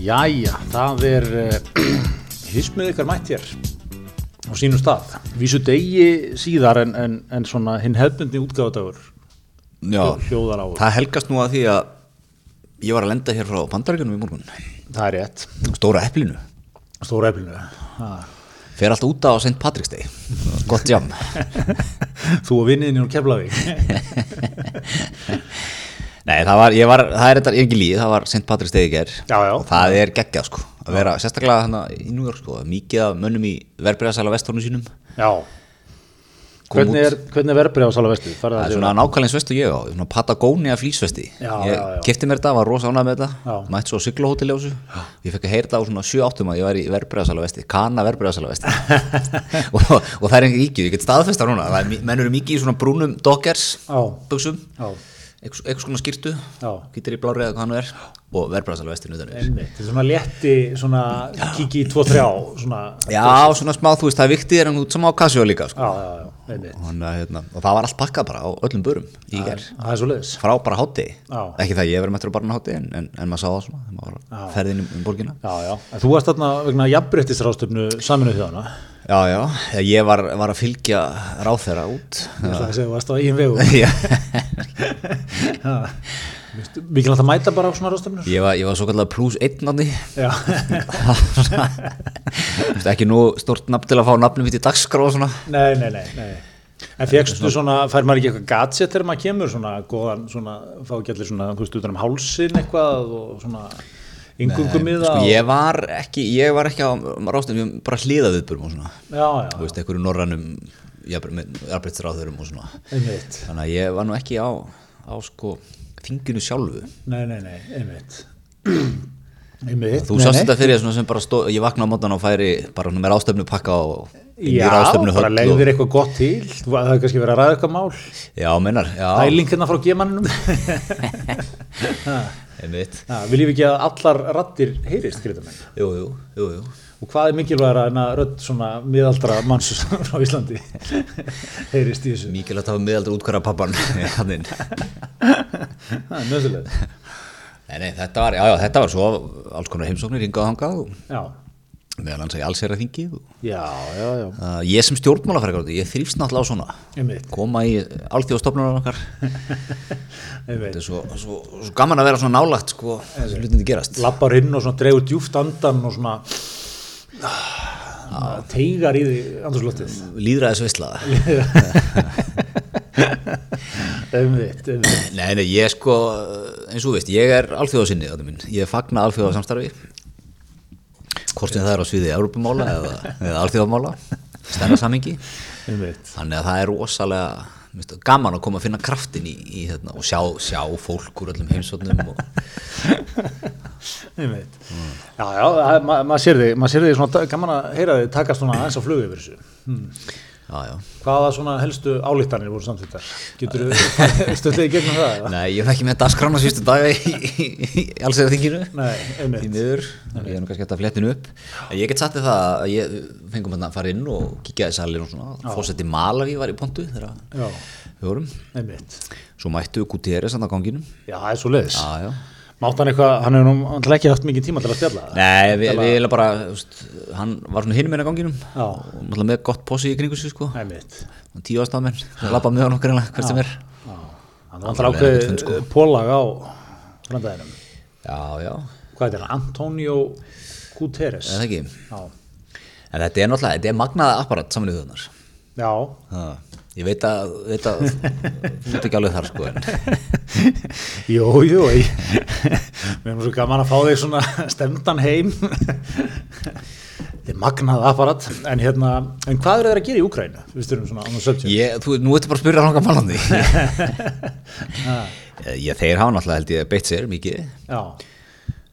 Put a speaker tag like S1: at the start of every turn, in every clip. S1: Jæja, það er uh, hismið ykkar mætt hér á sínum stað. Vísu degi síðar en, en, en svona hinn hefbundi útgáðadagur,
S2: Já,
S1: hljóðar áður.
S2: það helgast nú að því að ég var að lenda hér frá bandarækjunum í morgun
S1: Það er rétt.
S2: Stóra eplinu
S1: Stóra eflinu.
S2: Fer allt úta á St. Patrick's Day Gott jam
S1: Þú og vinniðin úr Keflavík.
S2: Nei, það var, ég var, það er þetta ekki líð Það var St. Patrick's Day í ger
S1: Já, já.
S2: Og það er geggjað sko Að vera sérstaklega hana í New York sko Mikið af mönnum í verbreyðasæla vestornu sínum
S1: Já.
S2: Kom
S1: Hvernig er, hvernig er verbrið á Sala Vestu?
S2: Það er svona nákvæmleins vestu ég á Svona Patagonia flýsvesti
S1: Já,
S2: Ég
S1: já, já.
S2: kefti mér þetta, var rosa ánað með þetta
S1: Já.
S2: Mætt svo á sigluhóteljásu Ég fekk að heyra þetta á svona 7-8 að ég var í verbreyðasala vesti Kana verbreyðasala vesti og, og það er engin íkju, ég get staðfesta núna Það er, mi- Menn eru mikið í svona brúnum dockers
S1: Já,
S2: Buxum,
S1: já,
S2: einhvers einhvers konar skýrtu
S1: já.
S2: Hvítir í blári eða hvað hann er Og verbreyðasala vesti nutanir
S1: Einmitt. Þetta er svona létti, svona kiki í 2-3 á, svona.
S2: Já, svona smá, þú veist, það er viktið en þú ert sama á kassjó líka sko.
S1: Já, já, já, einmitt.
S2: Þannig að, hérna, Og það var allt pakkað bara á öllum börum í ger
S1: Það er svo leiðis.
S2: frá bara hátti
S1: Já.
S2: ekki það ég verið mættur á barna hátti en, en, en maður sá það svona þegar maður var
S1: Já.
S2: að ferðin um, um borgina
S1: Já, já. En Þú varst þarna vegna jafnbrettisrástöfnu saminuð þjóðana.
S2: já já, ég var, var að fylgja ráþeira út
S1: Ég ætla að segja, þú varst á eigin vegu.
S2: Já.
S1: Mikilvægt að mæta bara á svona ráðstöfnur?
S2: ég var, ég var svo kallar plus einn á því
S1: Já,
S2: ekki nú stort nafn til að fá nafnum mitt í dagskrá og svona
S1: nei, nei, nei, nei. En fegstu svona, fær maður ekki eitthvað gadget þegar maður kemur svona, góðan, svona, fá ekki allir svona, þú veist, utan um hálsin eitthvað og svona, yngungum í það?
S2: sko, ég var ekki, ég var ekki á ráþeira, ég var bara hliðað viðburum og svona
S1: Já,
S2: þú
S1: já,
S2: veist, einhverju norrannum jafnbryttsráþeirum og svona
S1: einmitt.
S2: þannig að ég var nú ekki á, á sko, þinginu sjálfu
S1: Nei, nei, nei, einmitt. einmitt,
S2: Þú
S1: nei,
S2: sást
S1: nei.
S2: þetta fyrir þér svona sem bara stó, ég vakna á mótan og færi bara svona með rástefnu pakka og inn í
S1: Já,
S2: ráðstefnu
S1: bara
S2: höll
S1: legður eitthvað gott til, Þú- það er kannski verið að ræða eitthvað mál,
S2: Já, meinar, já,
S1: hælingina frá gemanninum.
S2: einmitt
S1: Já, Viljum við ekki að allar rattir heyrist, greitum enn?
S2: Jú, jú, jú, jú
S1: Og hvað er mikilvægara en að rödd svona miðaldra manns frá Íslandi heyrist í þessu?
S2: Mikið að hafa miðaldur útkvara pappan Þannig
S1: Það er nöðsilegt.
S2: Nei, nei, þetta var, já, já, þetta var svo alls konar heimsóknir hingað og hangað og
S1: Já,
S2: meðal hans að ég alls er að þingi og,
S1: já, já, já.
S2: uh, Ég sem stjórnmálafrækar, ég þrýfst náttúrulega á svona
S1: Einmitt,
S2: koma í alþjóðstofnunar okkar
S1: einmitt.
S2: Þetta er svo, svo, svo gaman að vera svona nálagt sko, hlutinu gerast
S1: Lappar inn og svona dregur djúft andan og svona ah, teigar í því andurslottið.
S2: Líðræðisvislaða
S1: Einmitt, einmitt.
S2: Nei, nei, ég sko, eins og þú veist, ég er alþjóðasinni þetta minn, ég fagna alþjóða samstarfi hvort sem það er á sviði Európumála eða, eða alþjóðamála stærra samingi,
S1: einmitt.
S2: þannig að það er rosalega minnst, gaman að koma að finna kraftin í, í þetta og sjá, sjá fólk úr öllum heimsóknum og
S1: Einmitt. Já, já, það- ma- maður sér þig, maður sér þig svona, ta- gaman að heyra þig takast svona aðeins á flugu yfir þessu.
S2: já, já.
S1: Hvaða svona helstu álítanir voru samþýttar? Getur þú stöldið í gegnum það? eða?
S2: Nei, ég er ekki með dasgrána sístu daga í, í, í, í alls eða þinginu
S1: Nei, einmitt.
S2: í miður, ég er nú kannski hægt að flettinu upp en ég get satt í það að ég fengum hérna að fara inn og kíkja í salin og svona fórseti Malaví var í pontu þegar
S1: Já,
S2: við vorum
S1: einmitt.
S2: svo mættu við Guterres hann á ganginum
S1: Já, það er svo leiðis.
S2: já, já.
S1: Mátt hann eitthvað, hann hefur nú alltaf ekki haft mikið tíma til að spjalla það.
S2: Nei, við, við erum bara þú veist, hann var svona hinum meina á ganginum
S1: Já.
S2: og náttúrulega með gott posi í kringu sig sko
S1: Einmitt.
S2: og tíu aðstafamenn, lappa með hann okkur einlega hvert sem er
S1: Já. Hann var alltaf ákveðið sko. pólag á frandaðinum.
S2: já, já,
S1: Hvað heitir hann? Antonio Guterres.
S2: eða ekki
S1: Já.
S2: en þetta er náttúrulega, þetta er magnaða apparat saminuð þjóðunar
S1: Já.
S2: Ha, Ég veit að, veit að þú ert ekki alveg þar sko en
S1: Jú, jú, ég. Mér erum svo gaman að fá þig svona stemdan heim. Þetta er magnað apparat. En hérna, en hvað eru þeir að gera í Úkrænu? Við styrum svona annars sögtjum.
S2: ég, þú, nú ertu bara að spyrja ranga málandi Ég þeir hafa náttúrulega held ég beitt sér mikið
S1: Já.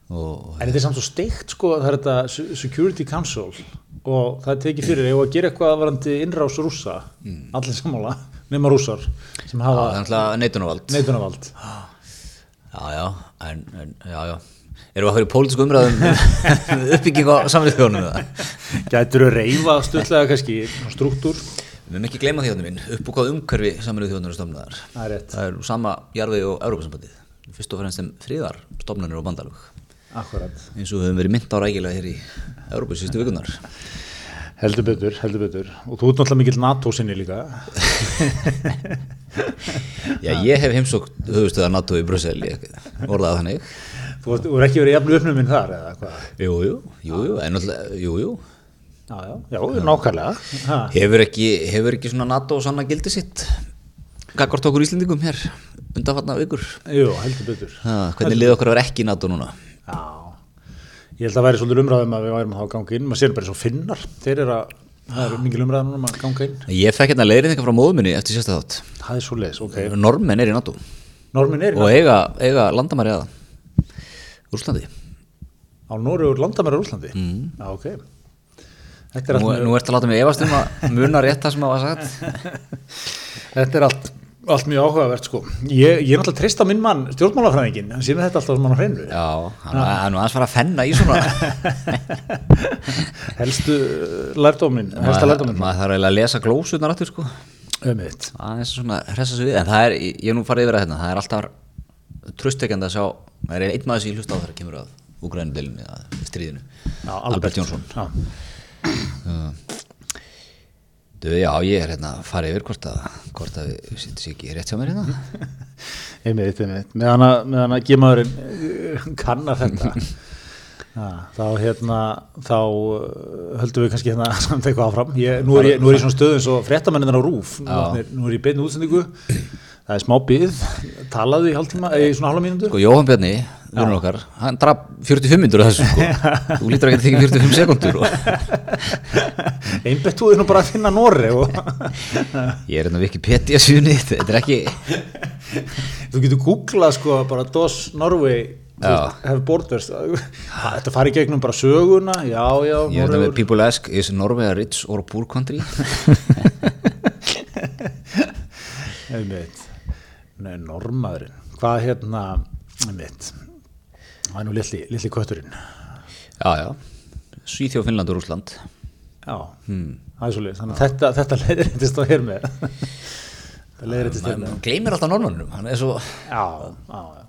S2: og
S1: En þetta er samt svo steikt sko, það er þetta Se- Security Council og það er tekið fyrir ef að gera eitthvað varandi innrás rúsa, allir sammála, nema rússar sem
S2: Mm. það
S1: hafa
S2: er náttúrulega neitunavald
S1: neitunavald.
S2: Já, já, en, en, já, já Erum við að fyrir pólitísku umræðum um uppbygging á samfélagsfjónum það?
S1: Gætur að reyfa stöðlega kannski svona struktúr,
S2: Við mögum ekki gleyma þjóðunum minn, upp og hvað umhverfi samfélagsfjónum þjóðunar stofnaðar
S1: það er rétt.
S2: Það er nú sama jarfið og Európa-sambandið Fyrst og fremst sem friðar stofnanir og bandalög
S1: akkurat.
S2: eins og við höfum verið mynd á rækilega hér í Európa síðustu vikunar
S1: Heldur betur, heldur betur. Og þú ert náttúrulega mikill NATO sinni líka.
S2: Já, ég hef heimsókt höfustöða NATO í Brussel, ég orðaði þannig
S1: Þú ert- þú er ekki verið jafn uppnuminn þar eða hvað?
S2: Jú, jú, jú, jú, en alltaf, jú, jú
S1: Já, já, já, nákvæmlega. Ha.
S2: Hefur ekki, hefur ekki svona NATO sanna gildi sitt Gagvart okkur Íslendingum hér undanfarna vikur
S1: Jú, heldur betur.
S2: ha, Hvernig liði okkur að vera ekki í NATO núna?
S1: Já, ég held að væri svolítið umræðum að við værum að hafa ganga inn, maður sér bara eins og finnar, þeir eru að, það eru mingil umræðum um að ganga inn.
S2: Ég fekk hérna leiðrið frá móðuminni eftir sérsta þátt
S1: Það er svo leiðis, ok.
S2: Normenn er í NATO
S1: Normin er
S2: og eiga, eiga landamæri að Úslandi
S1: á Norrjóður landamæra Úslandi. Mm. Já, ok. Þetta er
S2: Nú,
S1: allt,
S2: nú ertu að láta mig efast um að muna rétt það sem að var sagt
S1: þetta er allt, allt mjög áhugavert sko. Ég, ég er náttúrulega treyst á minn mann, stjórnmálafræðingin, hann sé með þetta alltaf sem hann á hreinu.
S2: Já, hann hann er nú aðeins fara að fenna í svona
S1: Helstu uh, lærdómin, helsta
S2: maður
S1: lærdómin.
S2: maður þarf eiginlega að lesa glósunar aftur sko
S1: Ömiðt.
S2: aðeins svona hressa sig við en það er, ég er nú farið yfir að þetta það er alltaf tröstekjandi að sjá það er einn maður sem ég hlusta á þegar kemur að Úgrænudelinu eða stríðinu
S1: Já,
S2: Albert, Jónsson
S1: Já,
S2: Dö, Já, ég er hérna að fara yfir hvort að hvort að við sýttum sér ekki rétt hjá mér hérna
S1: einmitt, einmitt. Meðan að, meðan að gemaðurinn kannar þetta. Já, þá hérna, þá uh, höldum við kannski hérna samt eitthvað áfram. Ég, nú, er ég, nú er ég í svona stöðum svo fréttamennir á rúf. Nú, er- nú er ég beinu útsendingu, það er smá byggð, talaðu í hálftíma, eh, í svona hálfa mínútu.
S2: Sko, Jóhann Bjarni, vinnur okkar hann draf 45 myndur af þessu sko þú lítur ekki að þykja 45 sekundur og
S1: Einbett þú er nú bara að finna Norri og
S2: ég er hérna Wikipedia síðunni þetta er ekki
S1: þú getur googlað sko bara DOS Norway þú
S2: Já.
S1: veist, have borders Ha, þetta farið gegnum bara söguna já já
S2: Ég er þetta með
S1: Noregur.
S2: people ask is Norway a rich or poor country
S1: einmitt nei normaðurinn hvað hérna einmitt það er nú litli, litli kötturinn
S2: Já, já Svíþjóð, Finnland og Rúsland
S1: já það er svo leið þannig að þetta, þetta leiðrættist á hér með þetta leiðrættist hér með
S2: Hann gleymir alltaf norrmönnum Hann er svo
S1: já já já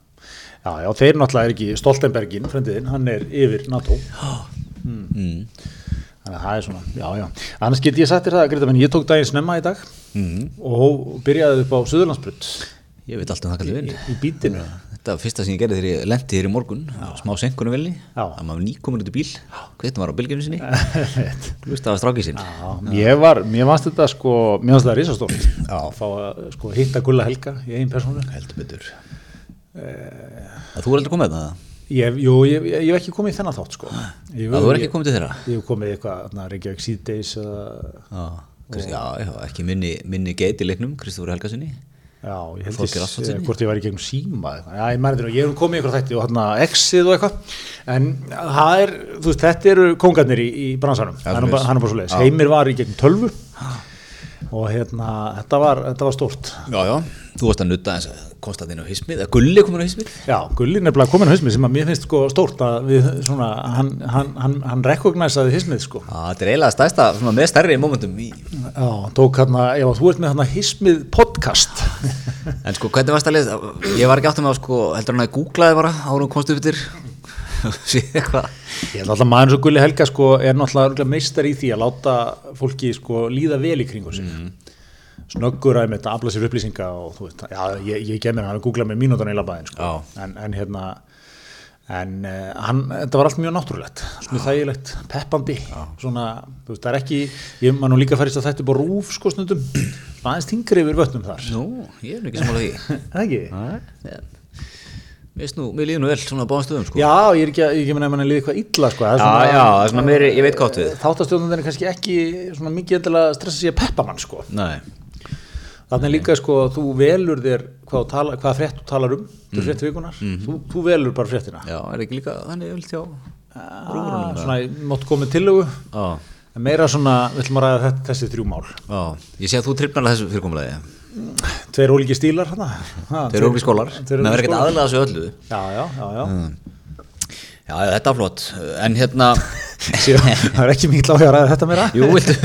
S1: já já þeir náttúrulega er ekki Stoltenbergin frendiðinn hann er yfir NATO
S2: mm.
S1: Þannig að það er svona, já, já. Annars get ég sagt þér það, Greta, menn ég tók daginn snemma í dag og hóf- byrjaði upp á Suðurlandsbrut
S2: Mm. Ég veit alltaf um það kallar vinn
S1: í bítinu.
S2: Þetta var fyrsta sem ég gerði þegar ég lendi þér í morgun Smá senkunum velni
S1: Já.
S2: Það maður nýkomin út í bíl Hvernig var á bylginu sinni
S1: Einmitt.
S2: Hlusta á strákið sinn
S1: já, ég var, mér fannst þetta sko, mér fannst þetta risastórt.
S2: Já.
S1: Fá að sko hitta Gulla Helga í einn persónu.
S2: Heldur betur Að Þú er aldrei komið það
S1: Ég, jú, ég, ég, ég hef ekki komið í þennan þátt sko. Ég,
S2: Að þú er ekki komið til þeirra
S1: Ég hef komið í eitthvað, þarna, Reykjavík síðdeis eða,
S2: Já, Krist- já, já ekki minni, minni geit í leiknum Kristofur Helgasinni
S1: já, ég held
S2: Þorgeir
S1: ég,
S2: Ástvaldssyni.
S1: eh, hvort ég var í gegnum síma eða eitthvað. Já, ég mærði nú, ég hef komið í eitthvað þætti og hérna X-ið og eitthvað. En það er, þú veist, þetta eru kongarnir í, í bransanum.
S2: Já,
S1: hann er
S2: svoleiðis.
S1: bara, hann er bara svo leiðis.
S2: Já.
S1: Heimir var í gegnum tölvu og hérna, þetta var, þetta var stórt.
S2: Já, já Þú varst að nutta eins að Konstantin og Hismið Að Gulli komin á Hismið
S1: Já, Gulli nefnilega komin á hismið sem að mér finnst sko stórt að við svona, hann, hann, hann, hann rekognæsaði hismið sko.
S2: Já, Þetta er eiginlega stærsta, svona með stærri momentum í.
S1: Já, tók hérna, já, þú ert með hérna hismið podcast.
S2: En sko, hvernig varst að lesa? Ég var ekki áttum með að sko, heldur hann að ég googlaði bara árum komstu yfir Sér eitthvað.
S1: Ég held alltaf að maður eins og Gulli Helga sko er náttúrulega örugglega meistar í því að láta fólki sko líða vel í kringu sig. Snöggur að með þetta afla sér upplýsinga og þú veist, já, ég, ég gef mér hann að googla með mínútan í labbaðin sko. En, en hérna, en uh, hann, þetta var allt mjög náttúrulegt, allt mjög þægilegt, peppandi, svona, þú veist, það er ekki, ég maður nú líka færist að þetta upp á rúf sko snundum, svona aðeins þingri yfir vötnum þar.
S2: Nú, ég er nú ekki samanlega því.
S1: Er Það ekki?
S2: En, Mér finnst nú, mér líður nú vel svona á báðum stöðum sko.
S1: Já, ég er ekki að, ég er ekki að menna að manni líði eitthvað illa sko. það er svona-
S2: það er svona meiri, ég veit hvað við.
S1: þáttastjórnandinn er kannski ekki svona mikið endilega að stressa sig að peppa mann sko.
S2: Nei.
S1: Þannig líka sko þú velur þér hvað, þú tala, hvað frétt þú talar um, þú frétt vikunar, þú, þú velur bara fréttina.
S2: Mhm. Já, er ekki líka þannig öll hjá.
S1: Ah, svona, mótt komið tillögu,
S2: Já,
S1: en meira svona, við ætlum að ræða þetta, þessi þrjú mál.
S2: já. Ég sé að þú trippnar að þessu fyrirkomulegi.
S1: Tveir ólíki stílar hana. Ha,
S2: Þeir eru okkur skólar.
S1: Tveir
S2: Menn
S1: ólíki
S2: verður ekkert Mm.
S1: skólar.
S2: aðlega þessu öllu.
S1: Já, já, já, já.
S2: Já, já, þetta er flott. En hérna,
S1: Sér, það er ekki mikið lág að ræða þetta meira.
S2: jú, viltu,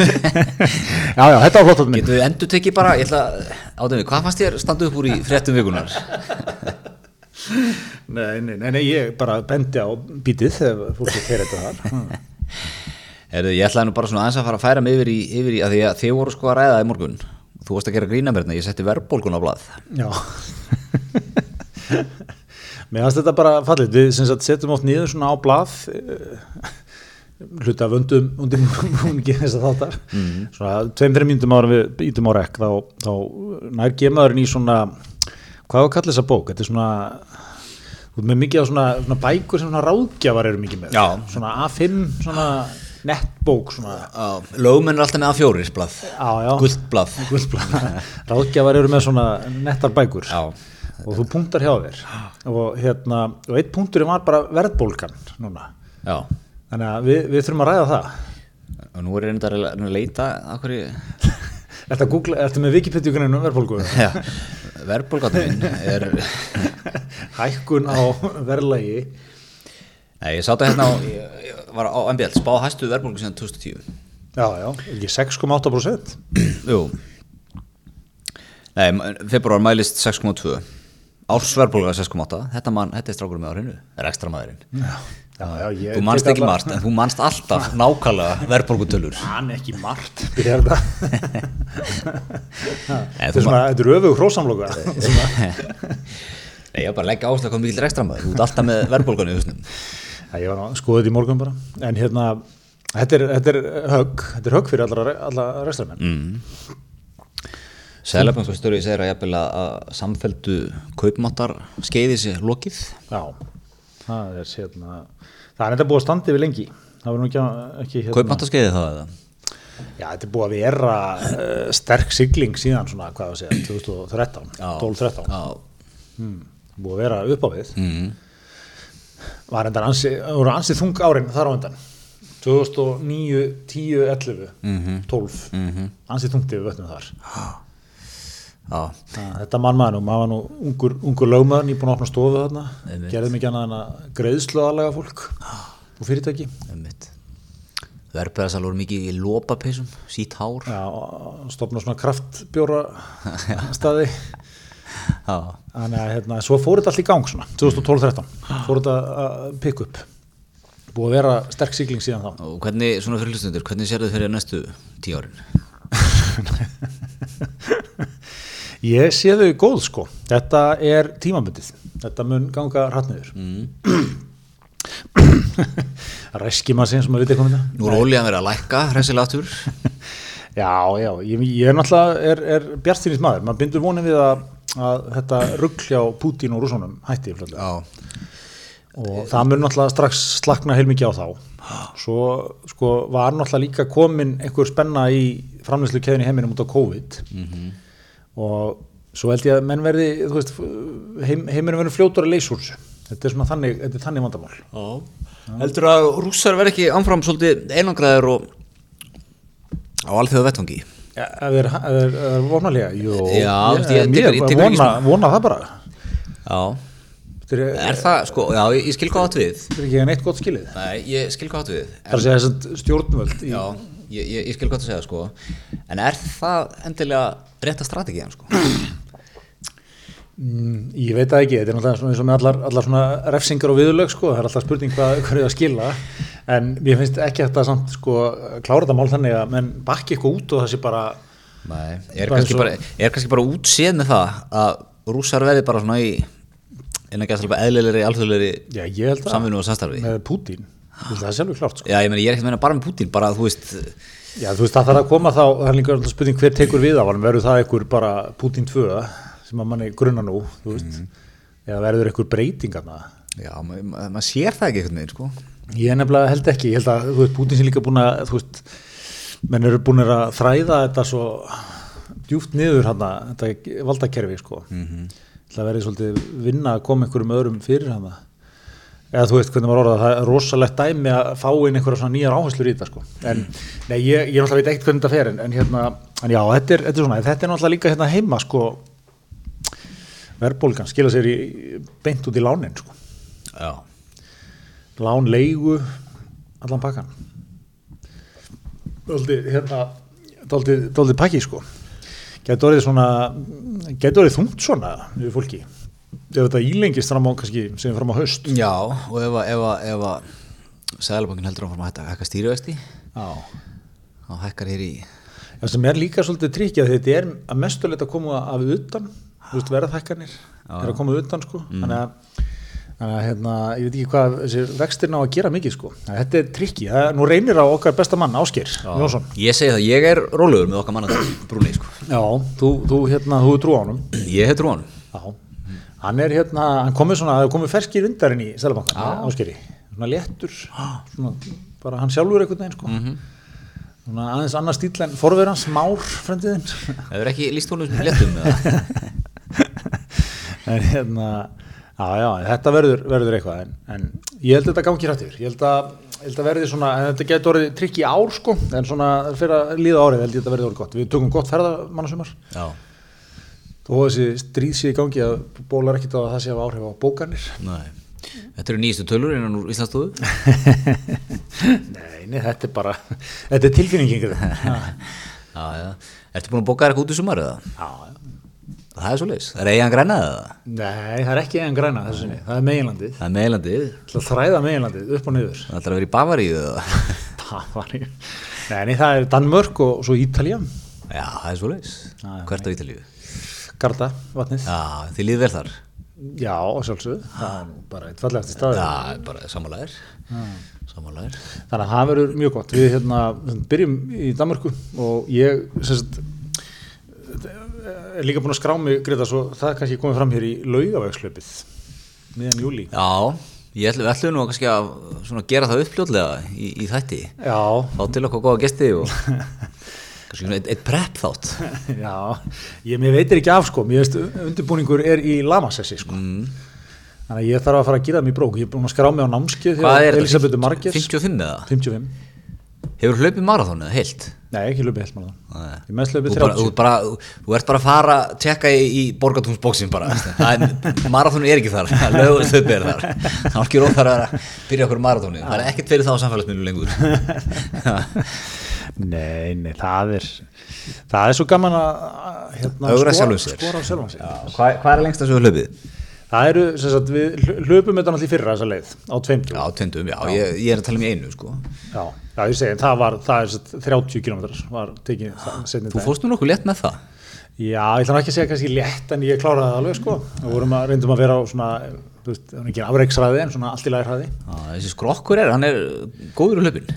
S1: Já, já, þetta var flott að minn.
S2: Getum við endur tekið bara, ég ætla, átum við, hvað fannst þér standa upp úr í fréttum vikunar?
S1: Nei, nei, nei, nei, ég bara bendi á bítið þegar fólki fer þetta þar.
S2: Heru, ég ætlaði nú bara svona aðeins að fara að færa mig yfir í, yfir í að því að þið voru sko að ræða það í morgun þú varst að gera grína mér hérna, ég setti verðbólgun á blað
S1: Já. Mér finnst þetta bara fallið, við sem sagt setjum oft nýður svona á blað eh, hluta af undum undirbúningi þess að þáttar svona tveim, þreim myndum ára við ítum á rekk þá, þá nær gemaðurinn í svona hvað var að kalla þessa bók? Þetta er svona þú ert með mikið á svona, svona bækur sem svona ráðgjafar eru mikið með
S2: Já.
S1: svona A5 svona nettbók svona
S2: lögmenn er alltaf með A4 blað
S1: á, já,
S2: gullt blað
S1: gullblad ráðgjafar eru með svona nettar bækur
S2: Já.
S1: og þú punktar hjá þér og, hérna, og eitt punktur var bara verðbólgan núna
S2: Já.
S1: þannig að við, við þurfum að ræða það
S2: og nú er ég reyndar að le- að leita að hverju
S1: Ertu, að Google, ertu með Wikipedia grunum verðbólgu
S2: Já, verðbólgatinn minn er
S1: hækkun á verðlægi
S2: Nei, ég sátt að hérna á, ég, ég var á MBL, spá hæstu verðbólgu síðan 2010
S1: já, já, ekki 6,8%
S2: Jú Nei, februar mælist 6,2 Árs verðbólga 6,8 Þetta, man, þetta er strákur með á hreinu, er ekstra maðurinn
S1: já, já, já, ég
S2: Þú manst
S1: tek
S2: ekki
S1: alla-
S2: margt, en þú manst alltaf nákvæmlega verðbólgutölur
S1: Man ekki margt byrjar það.
S2: Nei,
S1: Þetta
S2: þú
S1: er svona, þetta er öfug hrósamloka
S2: Nei, ég var bara að leggja áherslu að koma mikill ekstra maður Þú ert alltaf með verðbólganu í húsnum
S1: Já, ég var að skoða þetta í morgun bara en hérna, þetta er, þetta er högg þetta er högg fyrir allra, allra restramenn
S2: Sælabankastjóri segir að jafnvel að- að samfældu kaupmáttar skeiði sér lokið
S1: Já, það er hérna það er þetta búið að standa yfir lengi það var nú ekki, ekki hérna
S2: Kaupmáttarskeiði þá eða?
S1: Já, þetta er búið að vera uh, sterk sigling síðan svona, hvað það segja, 2013 12-13,
S2: Já,
S1: búið að vera upp á við var endar ansi, voru ansið þung árin þar á endan 2009, 10, 11
S2: Mhm, Mm.
S1: 12, ansið þungt yfir vötnum þar
S2: já.
S1: Það- Þetta mann maður nú, maður var nú ungur, ungur lögmaður, nýbúin að opna stofu þarna,
S2: Einmitt.
S1: gerði mikið annað en að greiðslu aðlega fólk og fyrirtæki.
S2: einmitt. Verðbæðarsal voru mikið í lópapeysum, sítt hár.
S1: Já, og stopna svona kraftbjóra staði.
S2: Já.
S1: Þannig að hérna, svo fór þetta allt í gang svona, 2012-13, fór þetta að pikk upp. Búið að vera sterk sigling síðan þá.
S2: Og hvernig, svona fyrir hlustundur, hvernig sér þau fyrir næstu tíu árin?
S1: Ég sé þau góð sko, þetta er tímabundið, þetta mun ganga hrattniður. Mm. Ræski maður sem að vita eitthvað um þetta.
S2: Nú er ólíðan verið að lækka, hressilega aftur.
S1: Já, já, ég, ég er náttúrulega er, er bjartstýnis maður, maður bindur vonin við að, að þetta rugl hjá Pútín og rússunum hætti fljóðlega
S2: Já.
S1: og það mun náttúrulega strax slakna heilmikið á þá svo sko var náttúrulega líka komin einhver spenna í framlýslu keðinu heiminum út á COVID og svo held ég að menn verði þú veist, heim, heiminum verður fljótur að leysa úr þessu þetta er svona þannig, þetta er þannig vandamál
S2: Já. Heldur að rússar verði ekki ámfram svolítið einangraðir og á alþjóða vettvangi?
S1: ja, Það er, ef þeir- ef þeir vonalega, jú
S2: Já,
S1: ég,
S2: ég-
S1: ég,
S2: tekur- ég tekur ekki
S1: vona, vona það bara
S2: Já.
S1: Þetta er,
S2: Er það, sko, já, ég ég skil hvað átt við.
S1: þetta er ekki neitt gott skilið
S2: Nei, ég skil hvað átt við.
S1: Það er að segja þessum stjórnvöld í,
S2: Já, ég, ég, ég skil hvað að segja sko En er það endilega rétta strategiðan sko?
S1: Mm, ég veit það ekki, þetta er náttúrulega svona eins og með allar, allar svona refsingar og viðurlög sko, það er alltaf spurning hvað, hvað er það að skila en mér finnst ekki þetta samt sko klára þetta mál þannig að menn bakki eitthvað út og það sé bara
S2: Nei, er
S1: Bara
S2: kannski,
S1: eins og-
S2: bara, er kannski bara útséð með það að rússar verði bara svona í innan ekki að selva eðlilegri, alþjóðlegri
S1: já ég held að
S2: samvinnu og samstarfi
S1: með Pútín, Þú veist, það er sjálfur klárt sko
S2: Já, ég meni, ég er ekkert að meina bara með Putin bara að þú veist
S1: já þú veist það þarf að koma þá, það er líka alltaf spurning hver tekur við af hann, verður það einhver bara Pútín 2 sem að manni grunna nú þú veist,
S2: Mhm.
S1: eða verður einhver breytingarna
S2: Já, ma- ma- maður sér það ekki einhvern veginn sko
S1: Ég nefnilega held ekki, ég held að þú veist, Putin sé líka búin að, þú veist, menn eru búin að þræða þetta svo djúft niður hann þetta valdakerfi, sko. Það verði svolítið vinna að koma einhverjum öðrum fyrir hann Eða þú veist hvernig maður orðað, það er rosalegt dæmi að fá inn einhverja svona nýjar áherslur í þetta, sko. En, nei, ég, ég náttúrulega veit ekkert hvernig þetta fer, en, en hérna, en já, þetta er, þetta er svona, þetta er náttúrulega líka hérna heima, sko, verðbólgan skila sér í, beint út í lánin, sko
S2: Já,
S1: lán leigu allan pakkan Dóldi, hérna Dóldi, dóldi pakki sko Gæti orðið svona Gæti orðið þungt svona við fólki ef þetta ílengist fram á, kannski, segjum fram á haust
S2: Já, og ef að, ef að, ef að Sæðalabankin heldur áfram að hætta að hækka stýrivesti
S1: Já.
S2: þá hækkar hér í
S1: Það sem er líka svolítið tryggja þetta er að mestuleitt að koma af utan, þú veist, verðhækkanir er að koma utan, sko, þannig að Þannig að hérna, ég veit ekki hvað þessi vextir ná að gera mikið sko. Þannig að Þetta er trikki, nú reynir á okkar besta mann, Ásker Jónsson.
S2: Ég segi það, ég er rólegur með okkar manna brúni sko.
S1: Já, þú, þú hérna, þú trú á honum.
S2: Ég hef trúan
S1: Já, hann er hérna, hann komið svona, það er komið ferskir vindar inn í Sælabankan, áskeri, svona léttur, svona bara hann sjálfur einhvern veginn sko, svona aðeins annar stíl en forverðan, smár frendiðinn,
S2: Það er ekki líst honum sem léttum með það
S1: en hérna, já já, þetta verður, verður eitthvað, en, en ég held að þetta gangi rættur, ég held að, ég held að verði svona, en þetta getur orðið trikk í ár sko, en svona fyrir að líða árið held ég að þetta verði orðið gott, við tökum gott ferðamannasumar.
S2: Já,
S1: Þó að þessi stríð sé í gangi að bólar ekkit á að það sé að hafa áhrif á bókanir.
S2: nei Þetta eru nýjastu tölur innan úr Íslandsstofu
S1: Nei, nei, þetta er bara, þetta er tilfinningin Já,
S2: Já, já Ertu búin að bóka þér eitthvað út í sumar eða?
S1: já.
S2: Það er svo leis Það er eigan grænað eða?
S1: Nei, það er ekki eigin græna þessu sinni, það er meginlandið.
S2: Það er meðlandið
S1: Það er þræða meginlandið upp og niður.
S2: Það ætlar að vera í Bavaríu eða?
S1: Það var ég. Nei, nei, það er Danmörk og svo Ítalja,
S2: Já, það er svo leis
S1: Já, já.
S2: Hvert á Ítalíu?
S1: Garda, vatnið.
S2: Já, þið líður vel þar
S1: Já, að sjálfsögðu, það er nú bara eitt fallegasti staður.
S2: Já, bara samanlægir Samanlægir
S1: Þannig að það verður mjög gott. Við hérna byrjum í Danmörku og ég sem sagt, er líka búin að skrá mig, Greta, svo það er kannski komið fram hér í laugavegslaupið miðan júli.
S2: Já, ég ætlum, ætlum nú kannski að svona gera það uppljótlega í, í þætti
S1: Já,
S2: Fá til okkur góða gesti og kannski svona eitt, eitt prep þátt
S1: Já, ég mér veitir ekki af sko, mér veist undirbúningur er í lamasessi sko.
S2: Mm.
S1: Þannig að ég þarf að fara að gera það mér í brók, ég er búin að skrá mig á námskið
S2: Hvað er
S1: Elisabethu
S2: þetta?
S1: Margers,
S2: 55 eða?
S1: 55,
S2: Hefur hlaupið marathon eða heilt?
S1: nei ekki löpið held maður það,
S2: Nei.
S1: ég mest
S2: Þú,
S1: löpið
S2: bara, þú,
S1: 30,
S2: bara, þú ert bara að fara að tjekka í, í borgatúnsbóksin bara Það er- Marathonu er ekki þar, lögur hlaupið er þar Það er ekki róð þar að byrja okkur marathoni Það er ekkert fyrir þá samfélagsmiðlum lengur
S1: nei, nei, það er, það er svo gaman að að, hérna,
S2: Ögra
S1: skora,
S2: sjálfum sér.
S1: skora á sjálfum sér.
S2: Hvað, hvað er lengst að sögur hlaupið?
S1: Það eru, sem sagt, við hl- hlupum þetta náttúrulega í fyrra þessa leið á 20,
S2: Já, tvindum, já, Ég, ég er að tala um í einu sko
S1: já, já, ég segi, en það var, það er sem sagt, 30 km var tekið, setnið
S2: Þú fórst nú nokkuð létt með það
S1: Já, ég ætla nú ekki að segja kannski létt en ég kláraði það alveg sko. Við vorum að reyndum að vera á svona, þú veist, það er ekki afreiksræði en svona allt í lagi hraði.
S2: Já, Þessi skrokkur er, hann er góður úr hlaupin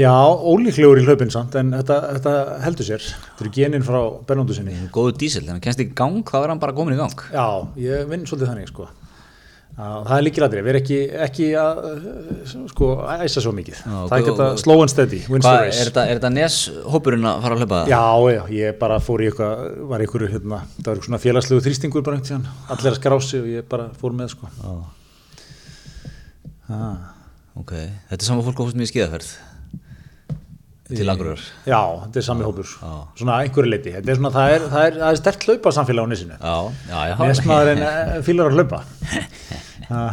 S1: Já, ólíklegur í hlaupin samt en þetta, þetta heldur sér. Þetta eru genin frá Bernóndu sinni.
S2: Góður dísil, þannig að kennst ekki í gang, þá er hann bara komin í gang
S1: Já, ég vinn svolítið þannig sko. Já, Það er líkil aðrið, við erum ekki, ekki að uh, sko, æsa svo mikið.
S2: Já,
S1: það er
S2: og-
S1: þetta slow and steady, wins
S2: Hvað,
S1: the
S2: er
S1: race.
S2: þetta, er þetta neshópurinn að fara að hlaupa það?
S1: Já, já, ég bara fór í eitthvað, var í einhverju, hérna, það var eitthvað svona félagslegu þrýstingur bara einhvern tíðan, allir að skrási og ég bara fór með, sko.
S2: Já
S1: Ah.
S2: Ok, þetta er sama fólk og fórst mér í skiðaferð Til agrar
S1: Já, þetta er sami hópur,
S2: Já.
S1: svona einhverju leiti þetta er svona, það er, það er, það er stert hlaupa samfélag á nýsinu,
S2: Já, já, já
S1: nesmaðurinn eh, fílar að hlaupa Ah,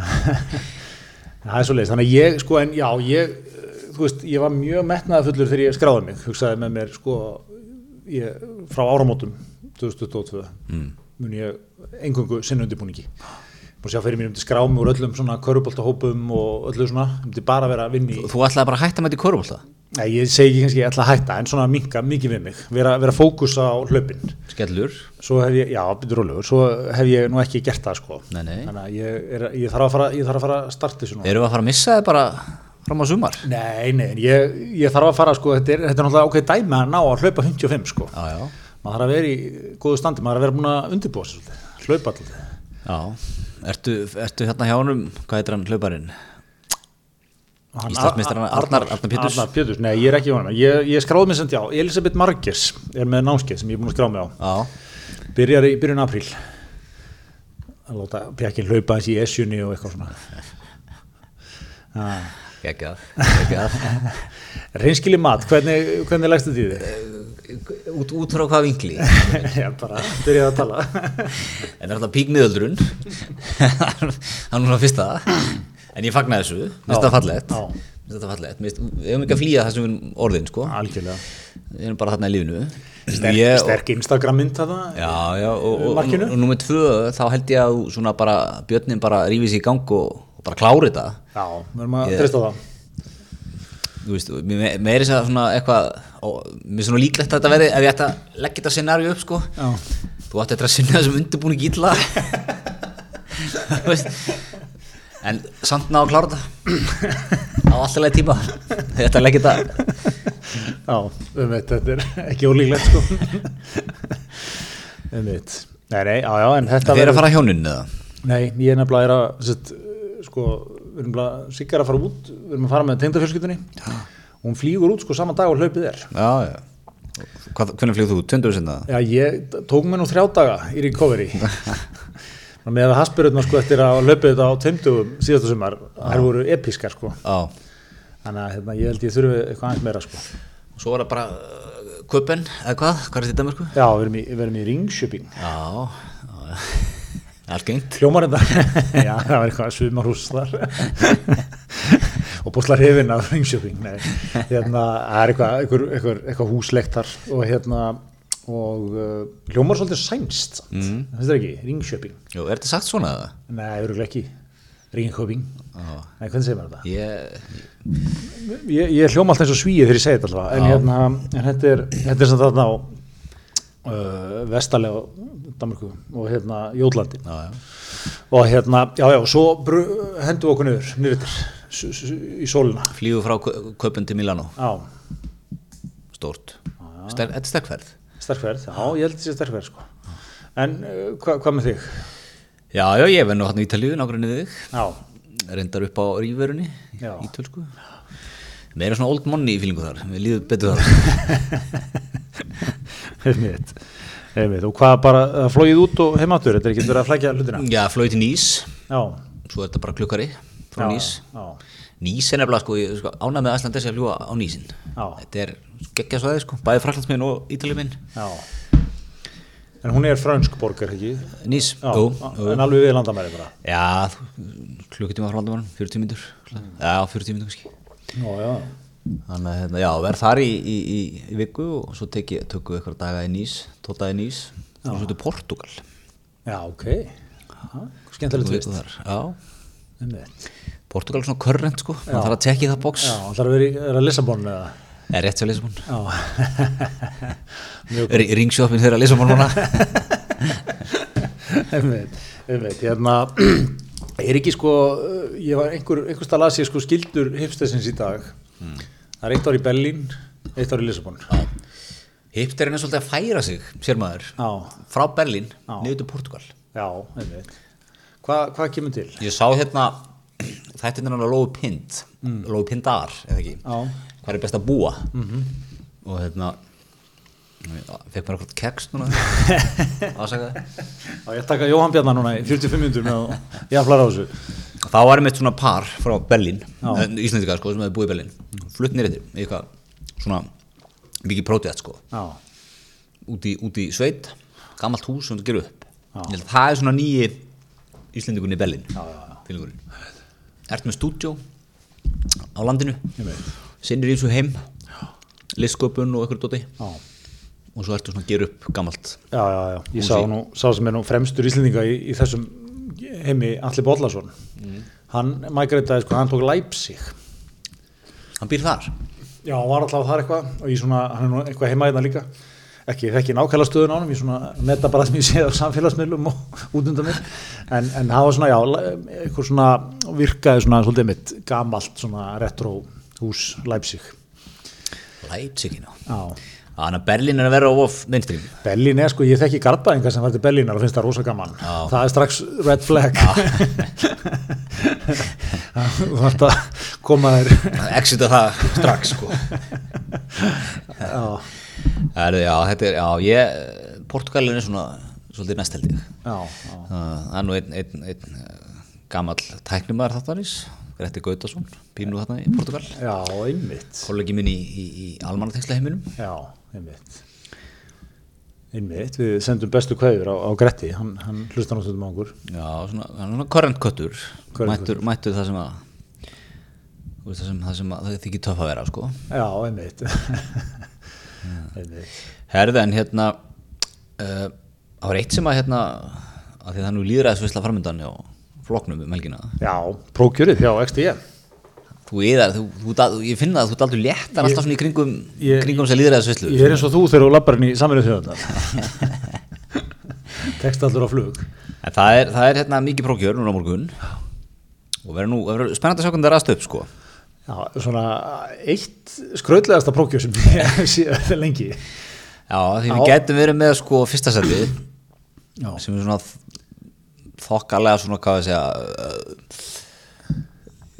S1: það er svo leiðis, þannig að ég sko, en já, ég eh, þú veist, ég var mjög metnaðafullur þegar ég skráði mig hugsaði með mér, sko ég, frá áramótum 2022 mm. mun ég engungu sinna undirbúningi Búin að sjá fyrir mér um til skrámi úr öllum svona köruboltahópum og öllu svona, um til bara að vera að vinna í
S2: Þú ætlaði bara að hætta með þetta í korfbólta
S1: Nei, ég segi ekki kannski ég ætla að hætta, en svona minka mikið við mig, vera, vera fókus á hlaupin.
S2: Skellur
S1: Svo hef ég, já, byrður rólegur, svo hef ég nú ekki gert það, sko.
S2: Nei, nei.
S1: Þannig að ég, er, ég, þarf, að fara, ég þarf að fara að starta þessu nú.
S2: Erum við að fara að missa það bara fram á sumar?
S1: Nei, nei, en ég, ég þarf að fara, sko, þetta er, þetta er náttúrulega ok dæmi að ná að hlaupa 55, sko.
S2: Já, já
S1: Maður þarf að vera í góðu standi, maður þarf að vera búin að undirbúa sér svolítið, hlaupa alltaf.
S2: Já, ertu, ertu hérna hjá honum, hvað heitir hann hlauparinn?
S1: Hann-
S2: Íslandsmeistarinn Arnar- Arnar Péturs.
S1: Arnar Péturs, nei, ég er ekki honum. Ég, ég skráði mig sem já, Elisabeth Margers er með námskeið sem ég er búin að skrá mig á.
S2: Já,
S1: Byrjar í byrjun apríl að láta pjakkin hlaupa eins í esjunni og eitthvað svona ah.
S2: geggjað, geggjað
S1: Reynskili mat, hvernig, hvernig lægstu því þið?
S2: út, út frá hvað vinkli
S1: Já, bara byrjaði að tala
S2: en það er alltaf píkniðöldrun það er núna fyrsta en ég fagna þessu, finnst
S1: Já,
S2: það fallegt
S1: já.
S2: Mér finnst þetta fallegt, Mér finnst- við hefum ekki að flýja það sem við erum orðin sko.
S1: algjörlega
S2: við erum bara þarna í lífinu
S1: Sterk,
S2: Ég-
S1: sterk Instagram mynd það
S2: já, já, og, og, og,
S1: Markinu?
S2: og nummer tvö þá held ég að þú svona bara björnin bara rífið sér í gang og, og bara klári þetta
S1: Já, við erum að
S2: Ég-
S1: treysta á það
S2: þú veist, mér mér- mér er þess að svona eitthvað og mér er svona líklegt að þetta verði ef ég ætti að leggja þetta scenarjó upp sko
S1: Já.
S2: þú átti eftir að sinna þessum undirbúning illa Þú veist, en samt ná að klára þetta á alltaf leið tíma þetta leggja þetta
S1: Já, um eitt, þetta er ekki ólíklegt sko Um eitt Nei, nei, já, já, en þetta
S2: þeir eru að fara hjónunni eða
S1: Nei, ég er nefnilega er að sett, sko, við erum nefnilega sikkar að fara út við erum að fara með tengdafjölskyldunni og hún flýgur út sko saman dag og hlaupið er
S2: já, já. Hvað, hvernig flýðu þú, töndur sinna
S1: Já, ég tók mér nú þrjá daga í recovery Ná, með að hasbyrðuna sko eftir að hlaupið þetta á tveimtugum síðastu sumar, þær voru episkar sko
S2: já,
S1: þannig að hérna, ég held ég þurfi eitthvað aðeins meira sko
S2: svo var það bara uh, köpen, eða hvað, hvað er þetta mörgu?
S1: Já, við erum í, við erum í ringshopping
S2: Já, já, já. algengt
S1: Hljómar þetta? Já, það var eitthvað sumarhús þar og búsla hrifin af Ringshjöping nei, hérna, það er eitthvað, eitthvað, eitthvað, eitthvað húslegt þar og hérna og uh, hljómar svolítið sænst mm. þetta er ekki, Ringshjöping
S2: Jú, er þetta sagt svona eða?
S1: nei, örugglega ekki, Ringshjöping
S2: Já.
S1: nei, hvernig segir maður þetta?
S2: Ég,
S1: Ég, ég hljóma alltaf eins og svíið þegar ég segi þetta alltaf en, hérna, en þetta er, þetta er samt þarna á uh, vestalega Danmarku og hérna Jótlandi
S2: já, já,
S1: og hérna, já já, svo bru- hendum við okkur niður, niður til, s- s- í sólina
S2: flýðu frá Kö- köpen til Milano,
S1: já,
S2: stórt Ster, Þetta er sterkferð
S1: sterkverð, já, ég held þessi sterkverð sko. en uh, hva, hvað með þig?
S2: Já, já, ég verð nú hann í Ítalíu, nágrunni þig
S1: já,
S2: reyndar upp á rífverunni
S1: Já.
S2: í tölsku Meira svona old money fílingu þar, við líðum betur þar
S1: einmitt, einmitt og hvað bara, það flóið út og heimáttur þetta er ekki verið að flækja hlutina
S2: Já, flóið til Nýs,
S1: já,
S2: svo er þetta bara klukkari frá
S1: já,
S2: Nýs
S1: já,
S2: Nýs er nefnilega sko, ég sko ánægð með að Æsland þessi að fljúa á Nýsin
S1: Já.
S2: Þetta er geggja svæði sko, bæði fraklandsminn og ítaliminn
S1: já en hún er frönsk borgar, ekki?
S2: Nýs,
S1: já,
S2: jú
S1: en alveg við landamæri bara
S2: Já, klukkutíma frá landamannum, 40 minnur
S1: Mm.
S2: Já, 40 minnur kannski
S1: já, já,
S2: Þannig að hérna, já, verð þar í, í, í, í viku og svo teki, tökum við eitthvað daga í Nýs, tóta í Nýs og svo til Portugal
S1: já, ok Aha, skemmtilegt
S2: Viku
S1: tvist
S2: þar, Já,
S1: einmitt,
S2: Portugal er svona körrent sko,
S1: Já.
S2: það þarf að tekja það box
S1: já, það er að vera í er að Lissabon eða
S2: Er rétt sér Lisabon
S1: Já Mjög
S2: Ringshoppin þeirra Lisabon núna
S1: einmitt, einmitt, hérna er ekki sko uh, ég var einhver, einhver stað las ég sko skildur hipstessins í dag Hmm. það er eitt ár í Berlín, eitt ár í Lissabon já,
S2: Hipterinn er svolítið að færa sig, sér maður
S1: já,
S2: frá Berlín
S1: Já.
S2: niður til Portugal
S1: einmitt Hva, hvað kemur til?
S2: ég sá hérna þetta er náttúrulega Lóu Pind Lóu Pindar, eða ekki
S1: Mm. Já. Mhm.
S2: hvað er best að búa -hmm. og hérna fekk mér okkur keks núna ásaka
S1: Já, ég taka Jóhann Bjarnar núna í 45 minnum og jafnlar á þessu
S2: þá var einmitt svona par frá Berlín
S1: Já.
S2: Íslandika sko, sem hefði búið í Berlín flutt nýr eftir, í eitthvað svona mikið prótið sko
S1: Já,
S2: út í, út í sveit, gammalt hús sem það gerur upp
S1: Já.
S2: Ég held að það er svona nýji Íslendingun í Berlin
S1: Já, já, já.
S2: Fílingurinn. ert með stúdjó á landinu
S1: Einmitt.
S2: sinnir í þessu heim listsköpun og eitthvað dóti
S1: já
S2: og svo ertu svona að gera upp gammalt
S1: Já, já, já, ég sá nú, sá sem er nú fremstur Íslendinga í, í þessum heimi Alli Bollason hann mægreitaði sko, hann tók Leipzig
S2: hann býr þar
S1: Já, hann var alltaf þar eitthvað og ég svona, hann er nú eitthvað heima hérna líka ekki, þekki nákvæmlega stöðun á hann ég svona metta bara það sem ég séð á samfélagsmiðlum og út undan mér en, en það var svona, já, eitthvað svona virkaði svona svolítið mitt gamalt svona retro hús Leipzig
S2: Leipzigina
S1: Já,
S2: þannig að Berlin er að vera of mainstream
S1: Berlín er sko, ég þekki garbaðingar sem var til Berlínar og finnst það rosa gaman
S2: Já.
S1: það er strax red flag þú þarft að koma þér
S2: exita það strax sko
S1: Já,
S2: Heru, já, þetta er, já, ég Portugalin er svona svolítið næst held ég
S1: já, já
S2: Uh, Það er nú einn eh, ein, ein, gammal tæknumæður þáttanins, Gretti Gautason, pínu þarna í Portugal,
S1: Já, einmitt
S2: kollegi minn í, í, í almanatexla heiminum.
S1: Já, einmitt einmitt, við sendum bestu kveður á, á Gretti, hann, hann hlustar náttúrulega á okkur
S2: Já, svona, hann er svona current köttur,
S1: Current
S2: mættur, mættur það sem að Þú veist, það sem, það sem að- það þykir töff að vera sko.
S1: Já, einmitt. einmitt.
S2: Herði en hérna uh, það var eitt sem að hérna að því það er nú líðræðisvisla framöndan hjá floknum um helgina
S1: Já, prókjörið hjá XTI.
S2: þú eðar, þú, þú, þú, ég finna að þú daldur léttar alltaf svona í kringum,
S1: ég-
S2: kringum sem líðræðisvislu
S1: Ég er eins og þú þegar þú labbar inn í saminuð þjóðunar. Tekst allur á flug.
S2: En það er, það er hérna mikið prókjör núna á morgun og verður nú, verður spennandi að sjá hvernig það rast upp sko
S1: Já, svona eitt skrautlegasta prókjör sem ég sé lengi.
S2: Já, því við
S1: Já.
S2: getum verið með sko fyrsta setið
S1: Já.
S2: sem er svona þ- þokkalega svona hvað að segja uh,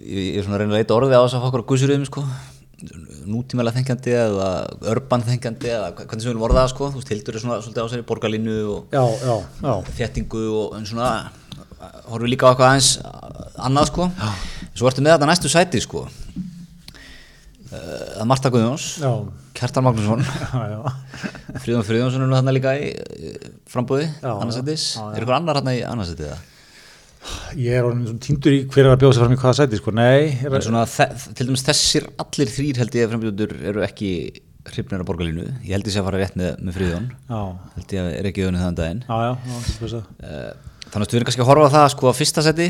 S2: ég, ég er svona að reyna að leita orði á þess að fá okkur að guðsurum sko nútímæla þengjandi eða örban þengjandi eða hva- hvernig sem við viljum orða það sko þú veist, Hildur er svona svolítið á sér í borgarlínu og
S1: Já, já, já.
S2: þéttingu og en svona horfum við líka á eitthvað aðeins annað sko svo ertu með þetta næstu sæti sko uh, að Marta Guðjóns
S1: Já,
S2: Kjartan Magnússon
S1: já, já.
S2: Fríðan Fríðansson er nú þarna líka í eh, frambúði,
S1: Já,
S2: annarsættis
S1: já, já.
S2: er eitthvað annar þarna í annarsættið það?
S1: Ég er orðin svona týndur í hver er að bjóða sér fram í hvaða sæti, sko. Nei, er,
S2: En Svona, þe- til dæmis þessir allir þrýr held ég að frambjóður eru ekki hrifnir á borgarlínu, ég held ég sé að fara rétt með, með Fríðan,
S1: já,
S2: held ég að er ekki auðvitað þann um daginn
S1: já, já, já, það er þess að.
S2: Eh, Þannig að við erum kannski að horfa á það sko að fyrsta seti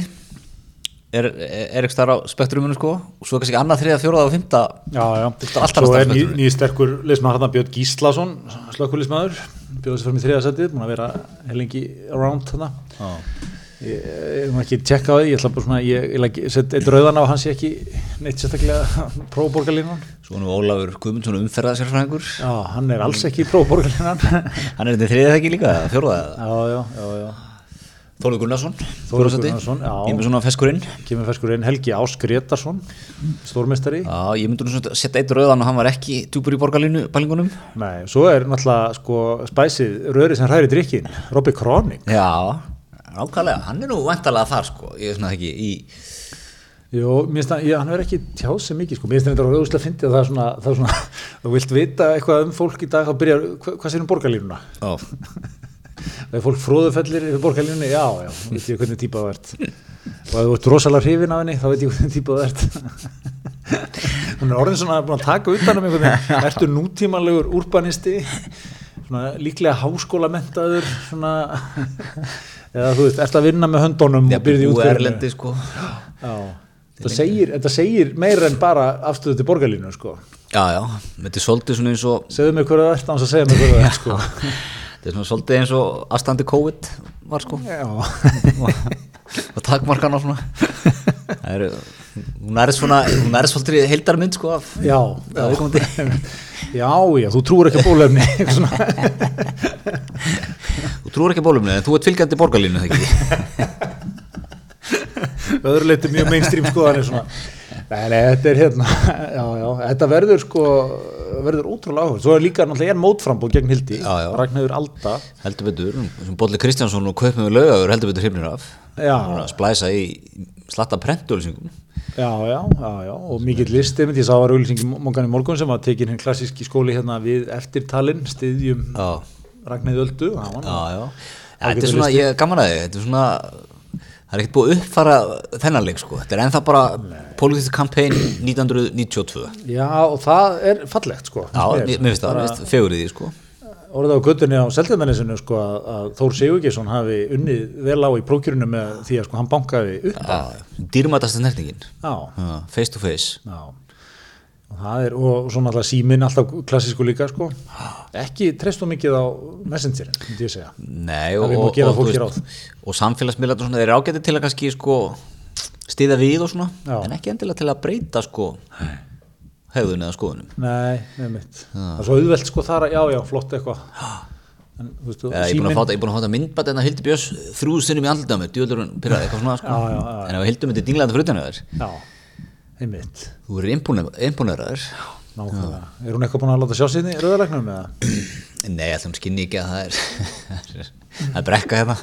S2: er, er ekki starf á spektruminu sko og svo kannski annað, þriða, fjóraða og fymta
S1: Já, já.
S2: Þetta er
S1: Svo
S2: allt annars
S1: er
S2: staðar
S1: ný,
S2: spenntur.
S1: nýjir sterkur leysmaður þarna Björn Gíslason, slökkulismæður, bjóða sér fram í þriðasætið, búin að vera lengi around þarna. Ég ég er nú ekki að tjekka á því, ég ætla bara svona, ég, ég ætla ekki að setja eitt rauðan á hans ég ekki neitt sérstaklega próborgarlínan.
S2: Svo er nú Ólafur Guðmundsson umferða sérfræðingur
S1: Já, hann er alls ekki próborgarlínan. já,
S2: Hann er þetta þriða þekki líka, fjóraða
S1: já, já, já.
S2: Þólu Gunnarsson,
S1: Þórður
S2: fjórða sæti.
S1: Gunnarsson, já.
S2: Ég með svona feskurinn
S1: Kemur ferskur inn Helgi Ás Gretarsson, stórmestari.
S2: Já, ég myndi nú svona setja eitt rauðan og hann var ekki djúpur í borgarlínu bælingunum
S1: Nei, svo er náttúrulega sko spæsið röri sem hræri drikkin, Robby Kroning.
S2: Já, ákvæðlega, hann er nú vantalega þar sko Ég er svona ekki í
S1: Jó, mér finnst að, ég, hann verður ekki tjáð sem mikið, sko, mér finnst þetta ógustlega fyndið að það er svona, það er svona, þú vilt vita eitthvað um fólk í dag, þá byrjar, hva, hvað sér um borgarlínuna?
S2: Ó,
S1: Það er fólk fróðufellir yfir borgarlínunni, já, já, þá veit ég hvernig típa það ert. Og ef þú ert rosalega hrifin af henni, þá veit ég hvernig típa það ert. Hún er orðin svona búin að taka utan um einhvern veginn, ertu nútímanlegur urbanisti, svona líklega háskólamentaður, svona, eða þú veist, ert að vinna með höndunum
S2: ég
S1: og byrði
S2: búið
S1: útverðinu.
S2: erlendi sko
S1: Já, þetta segir, þetta segir meira en bara afstöðu til borgarlínu sko.
S2: Já, já, þetta er svolítið svona eins og
S1: segðu mér hverða það ert án að segja mér hverða það ert sko.
S2: Það er svona svolítið eins og aðstandi COVID var sko
S1: Já,
S2: og, og takmarkan á svona það eru hún er svona, hún er svolítið heildarmynd sko af
S1: já,
S2: af
S1: já.
S2: viðkomandi.
S1: Já, já, þú trúir ekki á bólefni eitthvað svona.
S2: þú trúir ekki bólumni en þú ert fylgjandi borgarlínu þegar ekki
S1: öðru leiti mjög mainstream skoðanir svona. Nei, nei, þetta er hérna já, já, þetta verður sko verður ótrúlega áhugur, svo er líka náttúrulega er mótframbóð gegn Hildi,
S2: Já, já.
S1: Ragnhauður Alda
S2: heldur betur, sem Bolli Kristjánsson og Kaupmjöðu Laugagur heldur betur hrifnir af
S1: Já.
S2: Hún er að splæsa í slatta prentulsingum
S1: Já, já, já, já, og mikill listi mynd, ég sá var auðlýsing í mongan í morgun sem var tekin hinn klassíski skóli hérna við eftirtalin, stiðjum
S2: já,
S1: Ragnhauð Öldu, það var nú
S2: já, já þetta er svona, ég er gaman að þið þetta er svona, það er ekkert búið að uppfara þennan leik sko, þetta er ennþá bara political campaign 1992
S1: Já, og það er fallegt sko.
S2: Já,
S1: finnst
S2: mér mér finnst það, mér finnst fegur í því sko
S1: Orðið á göttunni á Seltjarnanesinu sko að að Þór Sigurgesson hafi unnið vel á í prókjörinu með því að sko hann bankaði upp.
S2: Dýrmætasta nertningin
S1: Já,
S2: Face to face
S1: já. Og það er, og svona alltaf síminn alltaf klassísku líka sko. Ekki treystu mikið á messengerin, myndi ég segja.
S2: Nei,
S1: Það
S2: og,
S1: við má
S2: og,
S1: gera
S2: og,
S1: fólki
S2: og, og samfélagsmiðlar og svona, þeir eru ágæti til að kannski sko stiða við og svona
S1: Já.
S2: en ekki endilega til að breyta sko hegðun eða skoðunum
S1: Nei, með mitt. Það er svo auðvelt sko þar að, já, já, flott eitthvað. En, þú veistu,
S2: Eða, Ég er búin að fá
S1: síminn,
S2: þetta- ég er búin að fá þetta myndbætt en að Hildur Björns þrjú sinnum í andlita á mér djúðlur hún pyrraði eitthvað svona sko
S1: Já, já, já, já.
S2: en ef Hildur myndi dinglandi fyrir utan að þér
S1: já, með mitt.
S2: þú eru impóneraður
S1: Nákvæmlega. Er hún eitthvað búin að láta sjá síðan í rauðalegnum eða?
S2: Nei, allum skinni ekki að það er það er brekka hérna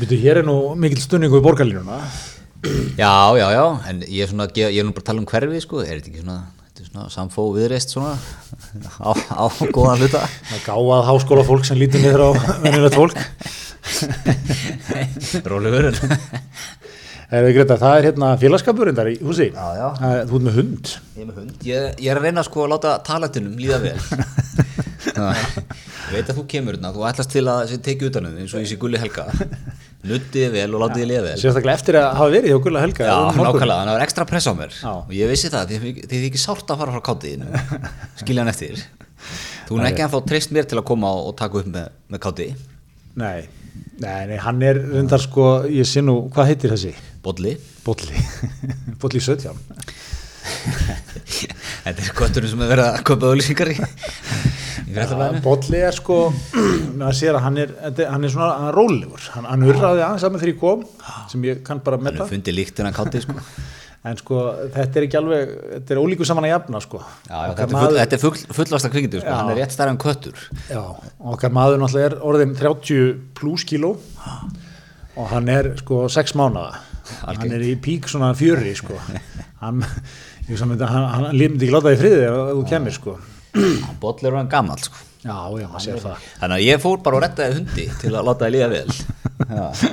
S1: Býtu, hér er nú mikill stunningu í borgarlínuna.
S2: Já, já, já, en ég er svona, ég, ég er nú bara að tala um hverfi, sko, er þetta ekki svona, þetta er svona samfó viðreist svona á, á góðan hluta?
S1: að gáað háskóla fólk sem lítur niður á venjulegt fólk
S2: Rólegur, en
S1: Heyrðu, Greta, það er hérna félagskapurinn þar í húsi.
S2: Já, já.
S1: Það er- Þú ert með hund.
S2: Ég er með hund. Ég, ég er að reyna sko að láta talentinum líða vel. Það- ég veit að þú kemur hérna, þú ætlast til að tekið utan um þig eins og ég sé gulli helga. Nuttið vel og látið þig líða vel.
S1: Sérstaklega eftir að hafa verið hjá Gulla Helga.
S2: Já,
S1: um morgun.
S2: nákvæmlega, þannig að það var ekstra press á mér
S1: Já.
S2: og ég vissi það, því því því ekki sárt að fara frá kátiðinu skilja hann eftir Þú er ekki ennþá treyst mér til að koma og, og taka upp með, með káti
S1: Nei, nei, nei, hann er reyndar sko, ég sé nú, hvað heitir þessi?
S2: Bolli
S1: Bolli. Bolli 17.
S2: Þetta er kvöturinn sem er verið að köpa auðlýsingar í í
S1: Ja,
S2: fréttablaðinu
S1: Bolli er sko, maður sér að hann er, þetta er- hann er svona hann er rólegur. Hann, hann urraði aðeins að með þegar ég kom, sem ég kann bara
S2: Hann
S1: metta.
S2: er fundið líktin að káti sko. já,
S1: En sko, þetta er ekki alveg, þetta er ólíku saman að jafna sko.
S2: já,
S1: Okkar
S2: Þetta er, full, þetta er full, fullasta kvikindi sko. hann er rétt stærðan kvötur
S1: Já, okkar maður náttúrulega er orðin 30 pluss kíló og hann er sko 6 mánada hann er í pík svona fjöri sko hann, ég sammyndi, hann, hann limdi ekki láta því friði ef þú kemur sko
S2: Bolli er hann gamall sko.
S1: Já, já, maður sér það
S2: Þannig að ég fór bara og rettaði hundi til að láta það líða vel Já,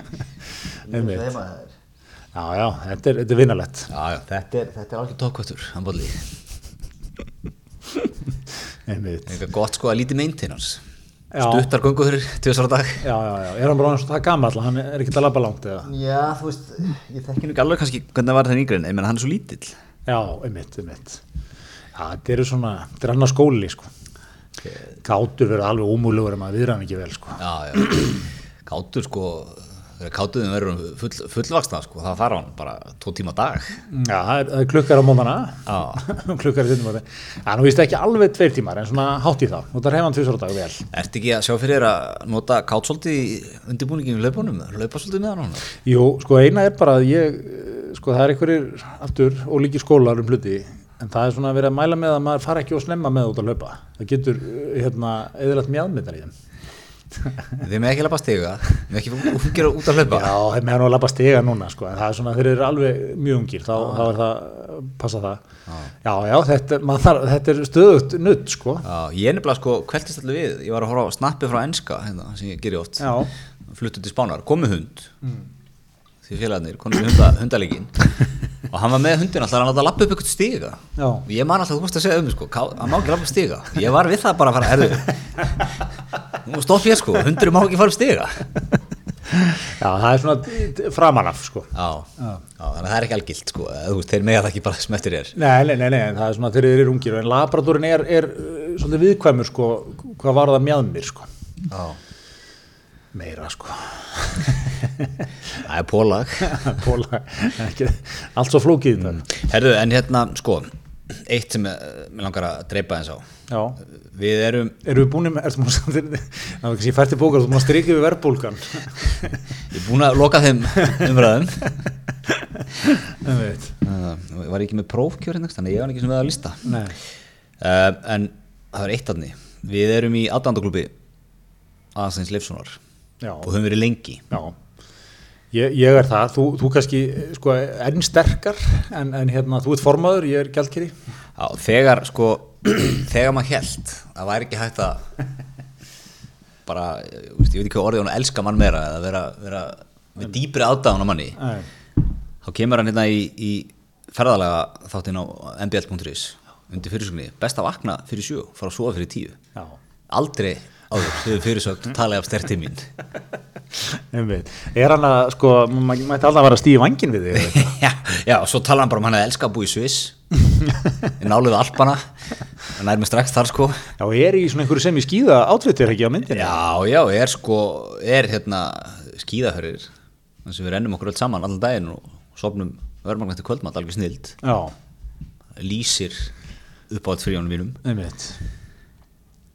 S1: Einmitt.
S2: heima þær
S1: Já, já, þetta er, þetta er vinnalett
S2: Já, já, þetta er, þetta er alveg tókvötur, hann bolli.
S1: einmitt.
S2: Eitthvað gott sko að lítið meintin hans.
S1: Já.
S2: Stuttar gönguður, tjóðsar á dag.
S1: Já, já, já, er hann bara eins og það gamall hann er ekkert að labba langt eða
S2: Já, þú veist, ég þekki nú ekki alveg kannski hvernig það var þannig yngri en ég menn hann er svo lítill.
S1: Já, einmitt, einmitt Já, þetta eru svona, þetta er annars skóli sko Gátur verður alveg ómúlugur ef maður viðra hann ekki vel sko
S2: Já, já. Kátur sko, þegar kátuðum verður full, fullvaksna sko, það fara hann bara tvo tíma á dag.
S1: Já, það er, það er klukkar á mótana
S2: Já.
S1: klukkar í þinnum Það er nú víst ekki alveg tveir tímar en svona hátt í það og það reyfan tvisar á dag vel
S2: Ertu ekki að sjá fyrir þér að nota kát svolítið í undirbúningin í laupunum? Laupa svolítið með hann?
S1: Jú, sko eina er bara að ég eh, sko það er einhverjir aftur ólíkir skólar um hluti en það er svona verið að mæla með að maður fara ekki og snemma með út að laupa það getur eh, hérna eðalagt mjadmyndar í þeim
S2: Þið með ekki lappa stiga, með ekki fungera út að laupa.
S1: Já, þeim er nú að lappa stiga núna sko en það er svona þeir eru alveg mjög ungir þá, þá er það, passa það Já, já, þetta, er- maður þarf, þetta er stöðugt nutt sko
S2: Já, ég nefnilega sko kveldist allir við, ég var að horfa á snappi frá enska, hérna, sem ég gerir oft,
S1: Já.
S2: fluttu til Spánar, komu hund, því félagarnir, komu hunda, hundalegin, og hann var með hundin alltaf hann láta lappa upp eitthvað stiga,
S1: Já.
S2: og ég man alltaf, þú veist að segja um, mig, sko, ká- hann má ekki lappa upp stiga, ég var við það bara að fara, erðu, nú stopp ég sko, hundurum má ekki fara upp stiga,
S1: Já, það er svona framanaf sko
S2: já, já, þannig að það er ekki algilt sko, eða, þú veist, þeir mega það ekki bara sem eftir er,
S1: Nei, nei, nei, nei, en það er svona þeir eru ungir en labradorin er, er uh, svolítið viðkvæmur sko, hvað var það mjadmir sko
S2: já,
S1: meira sko
S2: það er pólag,
S1: Póla, ekki, allt svo flókið í dag
S2: herðu, en hérna, sko, eitt sem eh, mig langar að dreipa eins á,
S1: Já,
S2: Við erum,
S1: erum við búin með, ertu múin samt það var ekki sem ég fært í bókar, þú múin að strikið við verðbólgan
S2: ég er búin að loka þeim umræðum
S1: Það veit
S2: uh, Ég var ekki með prófkjör hérna, þannig að ég var ekki sem við að lista uh,
S1: Nei,
S2: En það er eitt aðni Við erum í aðdandaglúbi Aðeins Leifssonar
S1: já,
S2: Og höfum verið lengi
S1: já Ég, ég er það, þú, þú kannski sko, enn sterkar en, en hérna, þú ert formaður, ég er gjaldkeri
S2: Já, Þegar sko Þegar maður held Það væri ekki hægt að Bara, ég veist, ég veit ekki hvað orðið hún að elska mann meira Eða vera, vera með dýpri aðdáðan á manni
S1: Nei,
S2: Þá kemur hann hérna í, í ferðalega þáttinn á mbl.is undir fyrirsögni, best að vakna fyrir sjö fara að sofa fyrir tíu
S1: já
S2: aldrei áður hefur fyrirsögn talaði af sterti mín
S1: Einmitt. Er hann að, sko, maður mætti alltaf að vera stíð í vangin við þig eða eitthvað?
S2: já, já, og svo talaði hann bara um hann að elska að búa í Sviss í náluðu Alpana hann er með strax þar sko
S1: Já, ég er í svona einhverju sem ég skýða átfittir ekki á myndinni.
S2: já, já, er sko er hérna skíðahörir þannig sem við rennum okkur öll saman allan daginn og sopnum verðmagna til kvöldmatt alveg snild
S1: Já,
S2: lýsir upp á þetta fyrir mínum
S1: einmitt.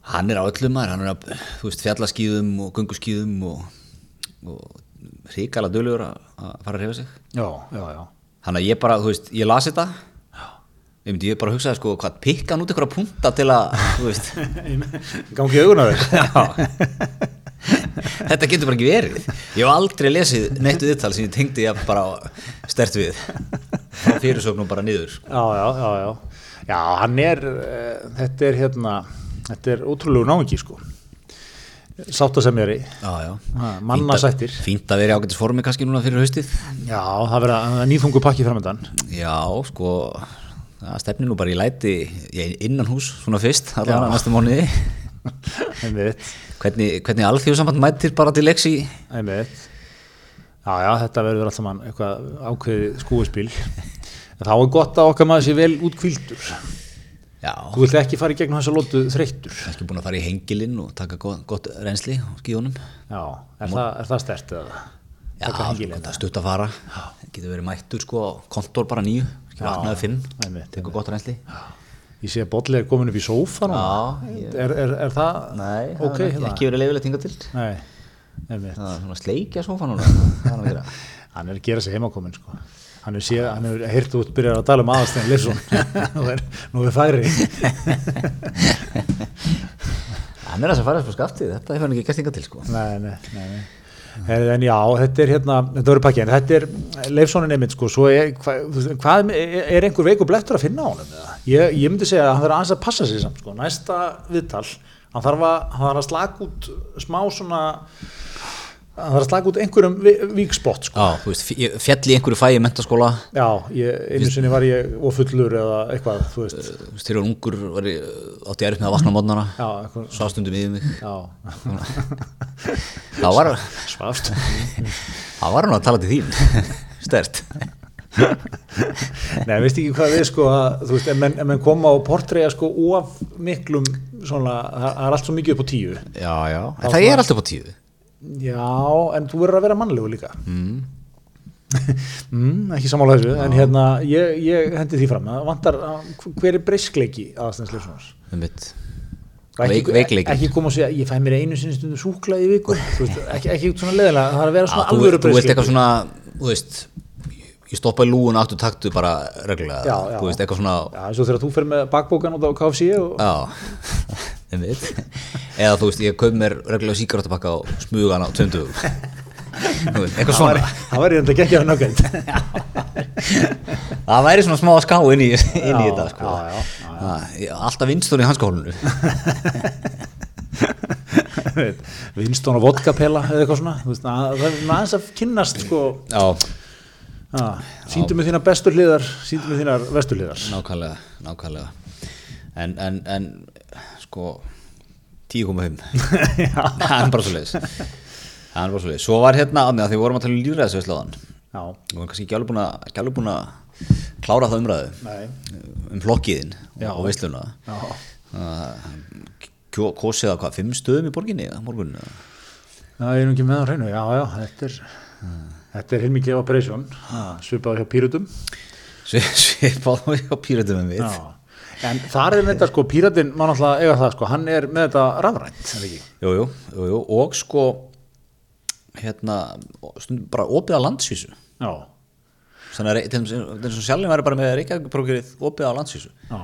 S2: Hann er á öllum maður, hann er að þú veist, fjallaskýðum og gunguskýðum og, og ríkala dölur að að fara að reyfa sig.
S1: Já, já, já.
S2: Þannig að ég bara, þú veist, ég las þetta, ég myndi ég bara hugsaði sko hvað pikka hann út einhverja punta til að, þú veist,
S1: Gangi augunar þér.
S2: þetta getur bara ekki verið. Ég hef aldrei lesið neittu viðtal sem ég tengdi ég bara stert við, frá fyrirsögnum bara niður. sko.
S1: Já, já, já, já. Já, eh, hann er, uh, þetta er hérna, þetta er ótrúlegu náingi, sko. sátt að sem ég er í
S2: Já, já.
S1: mannasættir.
S2: Fínt að- Fínt að vera í ágætis formi kannski núna fyrir haustið.
S1: Já, það verða það er nýþungu pakki framöndan
S2: Já, sko, það stefnir nú bara í læti já, innan hús svona fyrst,
S1: Já.
S2: allavega næsta mánuði.
S1: einmitt,
S2: Hvernig, hvernig alþjóðsamband mætir bara til leiks í
S1: einmitt Já, já, þetta verður alltaf mann eitthvað ákveðið skúispil Þá er gott að okkar maður sé vel útkvíldur
S2: Já,
S1: Þú vilt ekki fara í gegnum þessa lótu þreyttur
S2: kannski búin að fara í hengilinn og taka gott, gott reynsli á skíunum.
S1: Já, er, það, er það stert eða?
S2: Já,
S1: Taka hengilega.
S2: það er stutt að fara. Getur verið mættur sko á kontor bara nýju, kannski
S1: Já.
S2: vaknaði fimm,
S1: Einmitt,
S2: tekur gott reynsli.
S1: Ég sé að Bolli er komin upp í sófa núna.
S2: Já, ég-
S1: er, er, er það
S2: Nei, það
S1: ok, hérna?
S2: er ekki, ekki verið leifilegt hinga til.
S1: Nei, einmitt.
S2: Það er svona sleikja sofa núna, það er að vera.
S1: Hann er að gera sig heimakomin sko. Hann er séð, hann er heyrt út byrjar að tala um aðastæðin Leifsson Nú er, nú er færi
S2: Hann er að þess að fara þessu skaftið, þetta hefur hann ekki gert hinga til sko.
S1: Nei, nei, nei, nei. Her, En já, þetta er hérna, þetta verður pakki en þetta er Leifssonin einmitt sko, svo er, hva, hvað, er einhver veiku blettur að finna á honum? eða? Ég, ég myndi segja að hann þarf aðeins að passa sig samt sko. næsta viðtal hann þarf, að, hann þarf að slaka út smá svona hann þarf að slaka út einhverjum vi, víkspott sko.
S2: Já, þú veist, f- ég fjall í einhverju fæi í mentaskóla,
S1: Já, ég, einu sinni var ég ofullur eða eitthvað, þú veist
S2: þú veist, þegar ég var ungur var ég átti erfitt með að vakna mótnana,
S1: Já, eitthvað,
S2: sástundum yfir mig.
S1: já,
S2: Það var,
S1: svafst
S2: það var hann að tala til þín, stert.
S1: Nei, veist ekki hvað við sko að, þú veist, en menn, en menn koma á portreya sko of miklum svona, það það er allt svo mikið upp á tíu
S2: Já, já, en það er alltaf á tíu.
S1: Já, en þú verður að vera mannlegu líka mm. ekki samála þessu, en hérna ég, ég hendi því fram, það vantar að- hver er breyskleiki aðastæðins Leifssonars
S2: Einmitt.
S1: Og ekki, e-
S2: Veik- veikleikinn.
S1: ekki koma og segja, ég fæ mér einu sinni stundum súklaði í viku, þú veist, ekki, ekki svona leðilega, það er að vera
S2: Já,
S1: svona
S2: Ah, þú,
S1: alvöru
S2: þú veist eitthvað
S1: breyskleiki
S2: svona, þú veist, ég stoppaði lúun áttu taktu bara reglulega,
S1: Já, já.
S2: þú veist, eitthvað svona,
S1: Já, eins og þegar þú fer með bakbókan út á KFC
S2: Ah.
S1: og,
S2: já, einmitt. Eða þú veist, ég kaup mér reglulega síkartapakka og smuga hana á tveimdugum. eitthvað
S1: það
S2: svona.
S1: væri- það var ég enda ekki að nöggænt
S2: Það væri svona smá að ská inn í, inn
S1: Já,
S2: í þetta,
S1: já,
S2: sko.
S1: já, já.
S2: já, já. Alltaf vinst hún í hanskólinu.
S1: vinstón og vodkapela eða eitthvað svona þú veist, að, það er svona aðeins að kynnast sko,
S2: Já,
S1: að, síndu mig þínar bestur hliðar síndu mig þínar vestur hliðar
S2: nákvæmlega, nákvæmlega. En, en, en, sko, 10,5. það er bara svo leiðis. Það er bara svo leiðis. Svo var hérna á mig að því við vorum að tala um lífræðisveðslaðan.
S1: já,
S2: Við vorum kannski ekki alveg búin að, ekki alveg búin að klára það umræðu
S1: nei
S2: um flokkiðin
S1: Já.
S2: og veisluna.
S1: já.
S2: Kosið að hvað, fimm stöðum í borginni á morgun?
S1: Já, ég er nú ekki með á hreinu, já, já, þetta er þetta er heilmikið operation svipað hjá pírutum
S2: Svipað á píratum en við.
S1: já. en þar er þetta sko, píratin má náttúrulega eiga það sko, hann er með þetta rafrænt er það ekki?
S2: Jú, jú, jú, jú, og sko hérna, stundum bara opið á landsvísu
S1: já,
S2: þannig að rey- til þess að sjálfum væri bara með Reykjavíkprógrið opið á landsvísu
S1: já,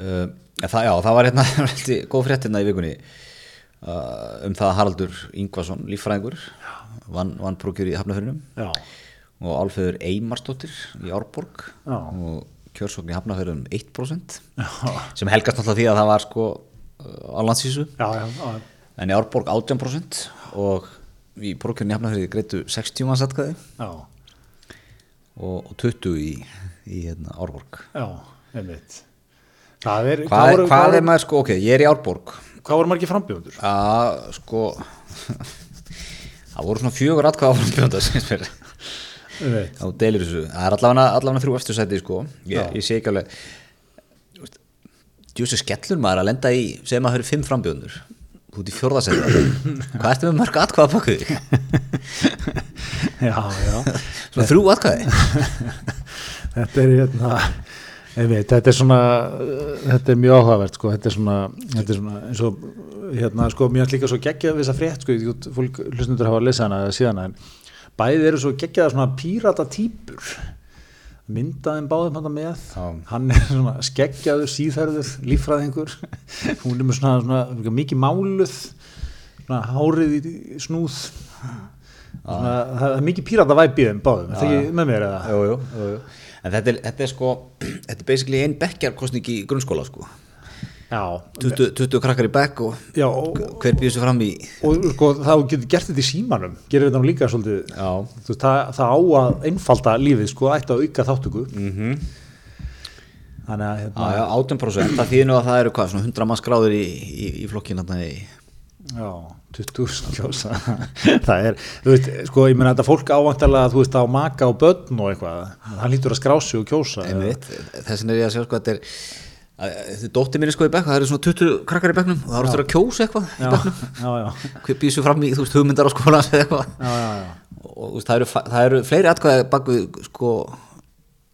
S2: uh, en það, já, það var hérna veldi góð frétt hérna í vikunni uh, um það að Haraldur Ingvason, líffræðingur vann, vann prógrið í Hafnafyrinum
S1: já
S2: og Alfeður Eymarsdóttir í Árborg
S1: Já.
S2: og kjörsókn í Hafnafyrinum 1%
S1: já,
S2: sem helgast náttúrulega því að það var sko uh, á landsvísu
S1: já, já, já.
S2: en í Árborg 18% og í borgarni hafnafriði greitu 60 manns atkvæði
S1: já.
S2: og, og 20 í, í hérna, Árborg
S1: já. einmitt Það er,
S2: hvað, er,
S1: voru-
S2: hvað
S1: voru-
S2: er maður sko, ok, ég er í Árborg
S1: hvað voru margir frambjóðundur?
S2: að sko það voru svona fjögur atkvæði áframspjönda sem fyrir þá deilir þessu, það er allavega, allavega þrjú eftir sæti sko,
S1: Já.
S2: ég, ég sé ekki alveg djúsi skellur maður að lenda í, segjum að höfðu fimm frambjöndur út í fjórðasetti hvað ertu með mörg atkvæða bakið
S1: Já, já,
S2: svona þrjú atkvæði
S1: þetta er hérna einmitt, þetta er svona uh, þetta er mjög áhugavert sko, þetta er svona, þetta er svona eins og hérna sko, mér er líka svo geggjað við þessa frétt sko, ég veit, fólk hlustundur hafa að lesa hana eða síðan en bæði eru svo geggjaða svona pírata típur myndaðin báðum hann með
S2: Já.
S1: hann er svona skeggjaður, síðherður líffræðingur, hún er með svona, svona mikið máluð svona hárið í í snúð svona, það er mikið pírata væp í þeim báðum, þetta ekki með mér eða
S2: jú, jú, jú, jú. En þetta er, þetta er sko, þetta er basically einn bekkjarkostning í grunnskóla sko.
S1: já,
S2: 20, 20 krakkar í bekk og
S1: já og,
S2: hver býður sér fram í
S1: og sko, þá getur gert þetta í símanum gerir þetta nú líka svolítið
S2: Já.
S1: Þú veist, það, það á að einfalda lífið sko, ætti að auka þáttöku -hmm. þannig að
S2: Mhm. Já,
S1: hérna,
S2: já, 18% það þýðir nú að það eru hvað, svona 100 manns gráður í, í, í flokkin þarna í
S1: já, 20.000 kjósa það er, þú veist, sko ég meina þetta fólk ávæntalega, þú veist, á maka og börn og eitthvað, hann lítur að skrási og kjósa
S2: einmitt, þessin er ég að sjá sko þetta er, að- þetta er dóttir minni sko í bekk það eru svona 20 krakkar í bekknum og það eru þetta að kjósa eitthvað í
S1: já,
S2: bekknum
S1: já, já,
S2: hver býður sér fram í, þú veist, hugmyndar á skóla eða eitthvað
S1: já, já, já.
S2: og þú veist, það eru, fa- það eru fleiri atkvæði bak við sko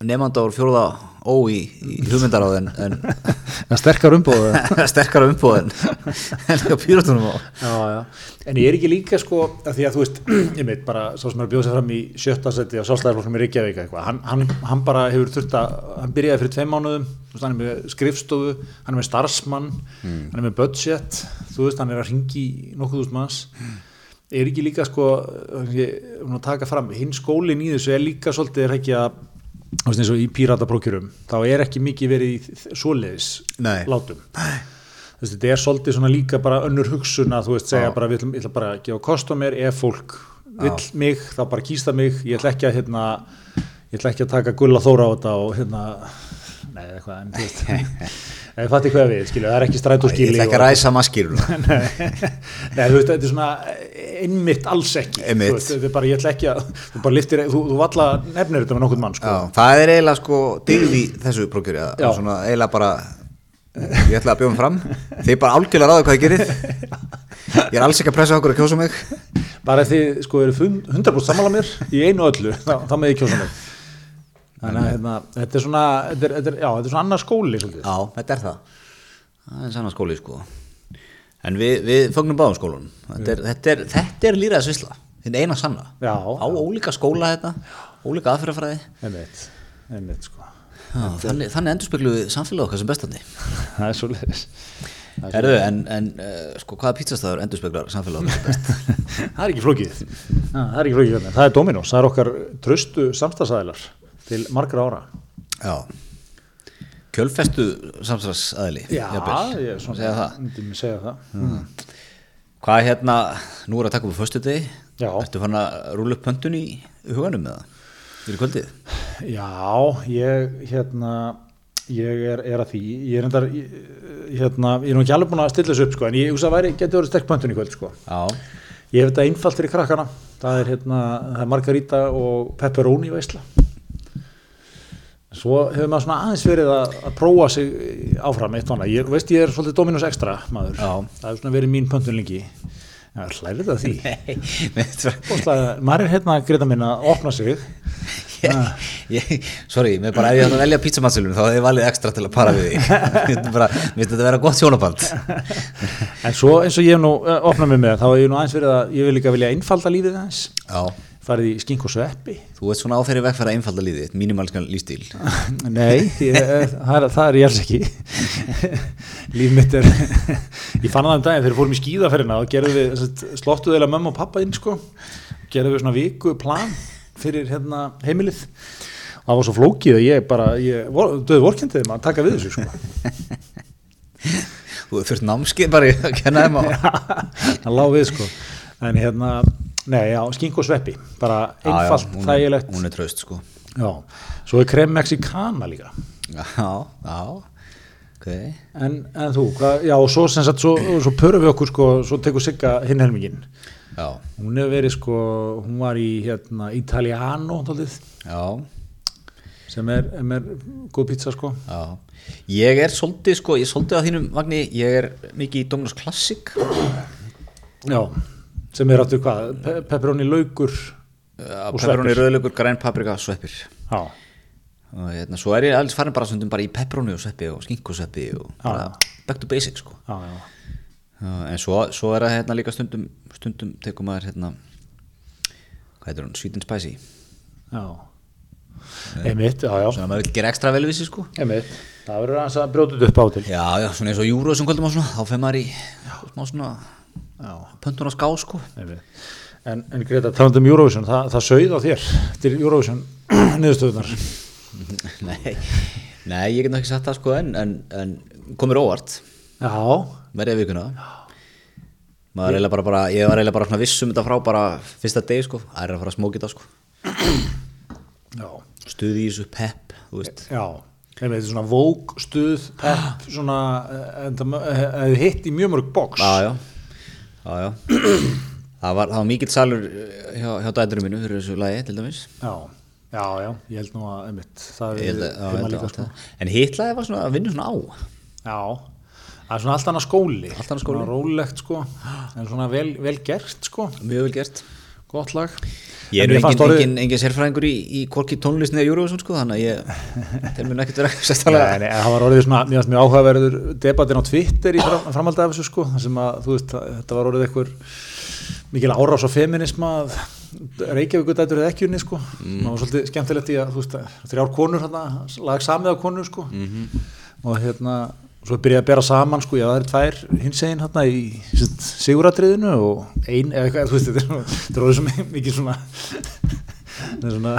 S2: nefnda úr fjórða ó í, í hugmyndaráð en, en
S1: En sterkar umbóðu
S2: sterkara umbóð en en líka pýratunum á
S1: Já, já. En ég er ekki líka sko, að því að þú veist, ég veit bara, sá sem er að bjóða sig fram í sjötta seti á sjálfstæðarflokknum í Reykjavík eitthvað, hann, hann, hann bara hefur þurft að, hann byrjaði fyrir tveim mánuðum, þú veist, hann er með skrifstofu, hann er með starfsmann, hann er með budget, þú veist, hann er að ringi nokkuð úr manns. Er ekki líka sko, ég er að taka fram, hinn skólinn í þessu er líka svolítið er ekki að, þú veist, eins og í pírataprókjurum, þá er ekki mikið verið í þ- svoleiðis
S2: Nei.
S1: látum. Nei þú veist, þetta er svolítið svona líka bara önnur hugsun að þú veist, segja bara, við ætlum, ég ætla bara að gefa kost á mér, ef fólk vill mig, þá bara kýsta mig, ég ætla ekki að hérna, ég ætla ekki að taka gulla þóra á þetta og hérna, nei, eða eitthvað, en þú veist, en ég fatti hvað við, skilju, það er ekki
S2: ég
S1: strætóskili
S2: ætla ekki að ræsa maskýruna
S1: Nei, þú veist, þetta er svona einmitt alls ekki,
S2: Einmitt.
S1: þú veist, þetta er bara, ég ætla ekki að, þú bara liftir, þú, þú valla nefnir þetta með nokkurn mann, sko.
S2: Já, það er eiginlega sko dýrð í þessu prókjöri að
S1: Já.
S2: að svona eiginlega bara eh, ég ætla að bjóðum fram þið bara algjörlega ráðu hvað ég gerir ég er alls ekki að pressa okkur að kjósa mig
S1: bara ef þið sko eru fun- 100% sammála mér í einu og öllu, þá, þá með ég kjósa mig þannig að hérna, þetta er svona þetta er, þetta er, já, þetta er svona annar skóli svolítið.
S2: Já, þetta er það það er sann að skóli sko en við, við fögnum báðum skólanum þetta er, þetta er, þetta er líraða svisla þetta er eina sanna
S1: Já.
S2: á ólíka skóla þetta ólíka aðferðafræði
S1: einmitt, einmitt sko
S2: þannig, þannig endurspeglu við samfélag okkar sem bestandi
S1: það er svo leiðis
S2: Erðu, en, en uh, sko, hvaða pítsastæður endurspeglar samfélag okkar sem best
S1: það er ekki flókið Ha, það er ekki flókið, hérna. það er Dominos, það er okkar tröstu samstagsæðilar til margra ára
S2: Já Kjölfestu samstarfsaðili
S1: já,
S2: jafnvel,
S1: ég er
S2: segja
S1: svona
S2: það.
S1: myndi mig segja það
S2: Hvað er hérna, nú er að taka upp fyrstu degi
S1: Já.
S2: Ertu fann að rúla upp pöntun í huganum með það? Fyrir kvöldið?
S1: Já, ég hérna ég er, er að því ég er endar ég, hérna, ég er nú ekki alveg búin að stilla þessu upp sko, en ég hugsa að væri, getur verið sterk pöntun í kvöld sko.
S2: Já
S1: Ég hef þetta einfalt fyrir krakkana það er, hérna, það er margarita og pepperoni veisla svo hefur maður svona aðeins verið að, að prófa sig áfram eitt og annað, ég, þú veist ég er svolítið Dominus Extra maður,
S2: Já.
S1: það hefur svona verið mín pöntun lengi Já, hlæri þetta að því
S2: Nei, mér finnst bara-
S1: Óslega, maður er hérna að greita minna að opna sig
S2: ég, ég, sorry, mér bara ef ég ætti að velja pítsamatsilunum þá hefði ég valið ekstra til að para við því Mér finnst bara- mér finnst þetta að vera gott sjónaband
S1: en svo eins og ég hef nú eh, opnað mig með þá hef ég nú aðeins verið að, ég vil líka vilja einfalda lífið aðeins,
S2: Já,
S1: farið í skink og sveppi
S2: þú ert svona á þeirri vegferð að einfalda lífið þitt, mínimalskan lífstíl
S1: Nei, ég, það, er, það er ég alls ekki Líf mitt er Ég fann það um daginn þegar við fórum í skíðaferðina og gerðum við, sagt, slottuðu eða mömmu og pappa inn sko, gerðum við svona viku plan fyrir hérna, heimilið og það var svo flókið að ég bara ég, vor, döðu vorkendið maður að taka við þessu sko.
S2: Þú hefur þurft námskeið bara í að kenna þeim á
S1: það lá við sko en hérna, nei já, skink og sveppi bara einfalt,
S2: Já, já, hún er-
S1: þægilegt
S2: Hún er traust sko
S1: já, svo er krem mexicana líka
S2: Já, já, ok.
S1: En, en þú, hvað, já og svo sem sagt, svo, svo pörum við okkur sko, svo tekur Sigga hinn helmingin.
S2: Já,
S1: Hún hefur verið sko, hún var í hérna Italiano, tólið,
S2: já,
S1: sem er, sem er góð pizza sko.
S2: já. Ég er svolítið, sko, ég er svolítið á þínum vagni, ég er mikið í Dominos Classic.
S1: Já, sem er áttur hvað, pe pepperoni laukur og
S2: Pepperoni, rauðlaugur, græn paprika, sveppir.
S1: Já,
S2: Og hérna, svo er ég alls farin bara stundum bara í pepperoni og sveppi og skinku og sveppi og bara back to basics, sko.
S1: já, já.
S2: Já, En svo, svo er það hérna líka stundum, stundum tekum maður hérna, hvað heitir hún, sweet and spicy.
S1: já. Einmitt, já, já.
S2: Svona maður vil gera ekstra velvísi, sko.
S1: Einmitt, það verður aðeins að brjóta þetta upp á til.
S2: Já, já, svona eins og júru sem kvöldum á svona, þá fer maður í smá svona
S1: Já.
S2: pöntun á ská, sko.
S1: Einmitt. En, en Greta, talandum um Eurovision, það, það sögð á þér til Eurovision niðurstöðunar.
S2: Nei, nei, ég get nú ekki sagt það sko en, en, en komur óvart
S1: Já,
S2: verið vikuna maður reyla bara, bara, ég var reyla bara svona viss um þetta frá bara fyrsta degi sko, það er að fara að smókita sko
S1: já,
S2: stuði í þessu pepp, þú veist
S1: já. Nei, með þetta er svona vók, stuð,
S2: Ah.
S1: pepp, svona, eh, enda, hefur hitt í mjög mörg boks.
S2: já, já, já, já. það var, það var mikill salur eh, hjá, hjá dæturum mínu fyrir þessu lagi til dæmis
S1: já, já, já, ég held nú að, einmitt, það
S2: Ég
S1: er
S2: held að- já, ég held
S1: heima
S2: að
S1: líka,
S2: allt
S1: sko.
S2: það. en hitt lagi var svona að vinna svona á
S1: Já, það er svona allt annað skóli.
S2: Allt annað skóli.
S1: Svona rólegt, sko, en svona vel, vel gert, sko,
S2: mjög vel gert
S1: gott lag. En
S2: ég er
S1: mér
S2: engin,
S1: fannst
S2: engin,
S1: orðið-
S2: engin, sérfræðingur í, í korki tónlist neða júruvísum sko, þannig að ég tel mér nú ekkert vera
S1: Nei,
S2: sérstæðlega
S1: nei, eh, það var orðið svona, mér fannst mjög áhugaverður debattin á Twitter í fram, framhaldi af þessu sko, þar sem að, þú veist, að þetta var orðið einhver mikil árás á feminisma að Reykjavíkur dætur eða ekki unni sko,
S2: Mm.
S1: það var svolítið skemmtilegt í að, þú veist, að þrjár konur hérna, lag samið á konur sko
S2: Mhm.
S1: og hérna, svo byrjaði að bera saman sko, já það eru tvær hinsegin hérna í sitt siguratriðinu og ein, eða eitthvað, þú veist, þetta er svona- þetta er orðið svo mi- mikið svona þetta er svona,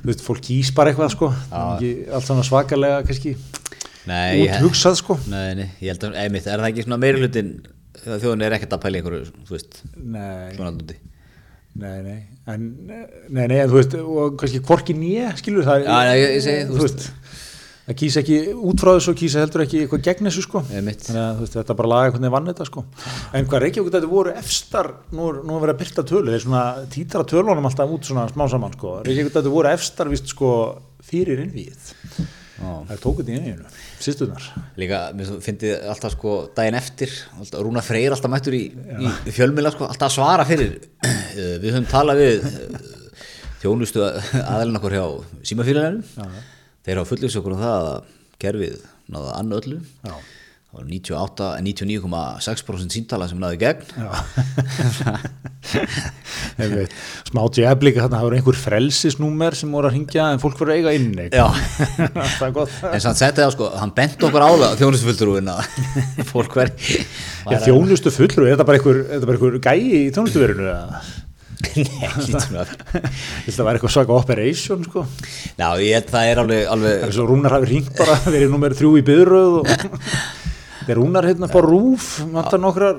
S1: þú veist, fólk kýs bara eitthvað sko, Það er ekki allt svona svakalega kannski
S2: nei,
S1: út
S2: ég,
S1: hugsað sko
S2: nei, nei, ég held að, einmitt, er það ekki svona meiri hlutin þjóðin er ekkert að pæla í einhverju, þú veist
S1: Nei,
S2: svona dundi
S1: nei, nei en, nei, nei, en þú veist, og kannski hvorki nýja, skilur það er-
S2: Já, nei, ég- ég segi, þú
S1: þú veist það kýsa ekki út frá þessu og kýsa heldur ekki eitthvað gegn þessu sko
S2: Einmitt.
S1: þannig að þú veist, þetta bara laga hvernig vann þetta sko en hvað Reykjavík þetta voru efstar nú er, nú er verið að byrta tölu, þeir svona títara tölunum alltaf út svona smá saman sko Reykjavík þetta voru efstar vist sko fyrir innvíð,
S2: Ó.
S1: það er tókut í innvíðinu sýstunar,
S2: Líka, mér svo- fyndi alltaf sko daginn eftir, alltaf, Rúna Freyr alltaf mættur í, í fjölmila sko, alltaf að svara fyrir Eh, við höfum talað við eh, þjónustu aðalinn okkur hjá símafélagunum, þeir hafa fullins okkur um það að kerfið náða annu öllu,
S1: Já.
S2: það var 98, 99,6% síntala sem náði gegn
S1: Einmitt. smá jab líka þarna, það voru einhver frelsisnúmer sem voru að ringja en fólk voru að eiga inni
S2: Já.
S1: það er gott
S2: en sann setti það sko, hann bent okkur ála þjónustufulltrúin að fólk hver
S1: Já, þjónustu fullur, er þetta bara einhver, er þetta bara einhver gæi í þjónustuverinu? eða?
S2: Nei, lítum við að
S1: Þetta var eitthvað svaka operation, sko.
S2: Já, ég held það er alveg, alveg
S1: Það er svo Rúnar hafi ringt bara, þeir eru nummer þrjú í byðröð og þeir Rúnar hérna bara rúf, vantar nokkrar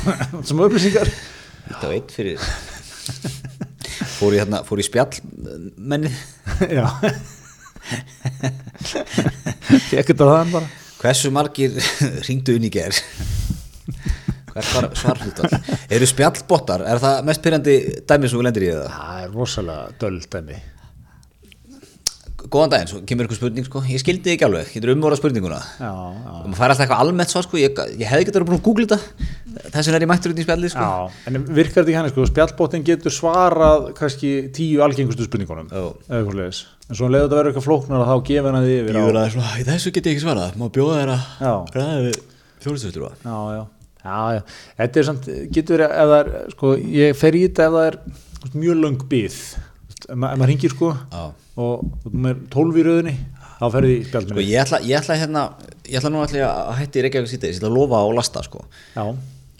S1: sem upplýsingar.
S2: Eitt á eitt fyrir Fór í, hérna, fór í spjall menni
S1: Já. Fekk þetta þaðan bara.
S2: Hversu margir ringdu inn í ger? Hvert var svarhlutar? Eru spjallbottar? Er það mest pyrrandi dæmi sem við lendir í það?
S1: Það er rosalega döldæmi.
S2: Góðan daginn, svo kemur ykkur spurning sko Ég skildi þig ekki alveg, getur umvara spurninguna
S1: Já, já.
S2: Og maður fær alltaf eitthvað almennt svo sko Ég, ég hefði getur búin að googla þetta Þess vegna er ég mættur út í spjalli sko
S1: Já, en virkar þetta ekki hann, sko, spjallbóttin getur svarað kannski tíu algengustu spurningunum
S2: Já.
S1: eða eitthvað leiðis, en svo leiður þetta verður eitthvað flóknar að þá gefa hennar því yfir á
S2: Ég er aðeins svona, "Í þessu get ég ekki svarað Má bjóða þér
S1: Já.
S2: að ræða við þjónustufuttur
S1: já, já, já, já. þetta er samt, getur verið ef það er, sko, ég fer í þetta ef það er þú veist, mjög löng bíð ef ma- ef maður hringir sko
S2: Já.
S1: og og maður er 12 í rauðinni þá ferði í
S2: Sko
S1: spjaldminni
S2: ég ætla, ég ætla hérna, ég ætla nú ætla ég að hætti Reykjavík síðdeis, ég ætla að lofa og lasta sko.
S1: já,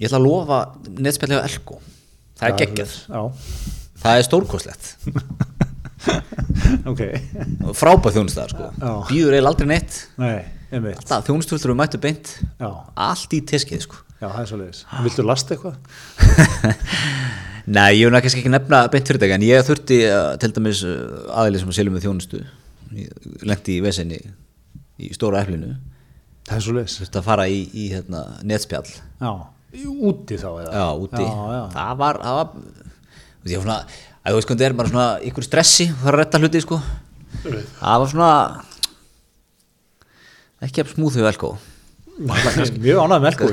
S2: Ég ætla að lofa netspjallið á Elko. Það er geggjað.
S1: já,
S2: Það er stórkoslegt.
S1: ok
S2: Frábæð þjónustæðar sko.
S1: Já.
S2: Býður eiginlega aldrei neitt.
S1: nei, einmitt,
S2: Alltaf þjónustöldur við mættu beint.
S1: já,
S2: Allt í teskið sko.
S1: já, það er svo leiðis viltu lasta eitthvað?
S2: Nei, ég vil kannski ekki nefna beint fyrir þetta en ég þurfti uh, til dæmis uh, aðeins sem að selja með þjónustu. Ég Lendi í vesenni í stóra eflinu.
S1: það er svo leiðis,
S2: Þurfti að fara í, í hérna, netspjall.
S1: já Í- úti þá eða?
S2: já, úti
S1: já, já.
S2: það var, það var þú veist, ég var svona, að þú veist hvernig það er maður svona ykkur stressi, það er að retta hluti sko það var svona ekki að smúðu velkó
S1: Mjög ánægð með elko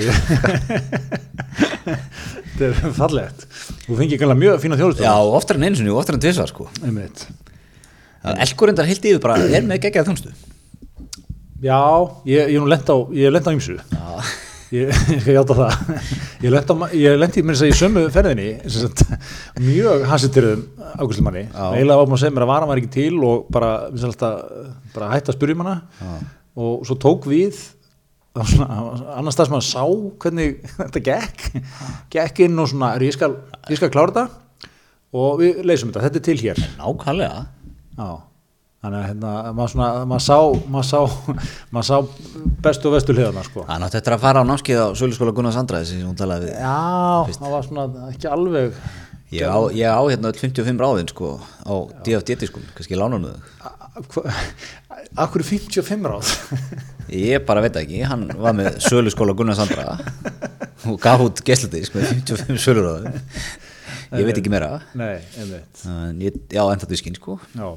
S1: Þetta er fallegt Þú fengið gæla mjög fína þjóðlustöð
S2: já, oftar en einu sinni og oftar en tvisvar sko
S1: Einmitt.
S2: elkur endar heilt yfir bara, er með geggjað þjónustu
S1: Já, ég, ég er nú lent á ég er lent á ymsu
S2: já,
S1: ég, ég skal játa það ég lent, á, ma- ég lent í mér að segja í sömu ferðinni sem sagt, mjög hansitirðum águstlumanni, eiginlega var maður að segja mér að vara var ekki til og bara, við sem alltaf, bara hætta að spyrja um hana og svo tók við það var svona, annar stað sem maður sá hvernig þetta gekk gekk inn og svona, "Heyrðu, ég skal, ég skal klára þetta og við leysum þetta, þetta er til hér
S2: nákvæmlega
S1: Já. þannig að hérna, maður, svona, maður sá maður sá, maður sá bestu og vestu hliðana sko.
S2: Hann átti eftir að fara á námskeið á Söluskóla Gunnars Andraði sem hún talaði við.
S1: já, það var svona ekki alveg
S2: Ég á, ég á hérna öll 55 ráðin sko á DFDT sko, kannski lánum þau.
S1: akkur 55 ráð
S2: Ég bara veit það ekki, hann var með Söluskóla Gunnars Andraði og gaf út gæsladís með 55 söluráðum. Ég veit ekki meira.
S1: nei, einmitt
S2: En ég, já, en það diskinn sko.
S1: já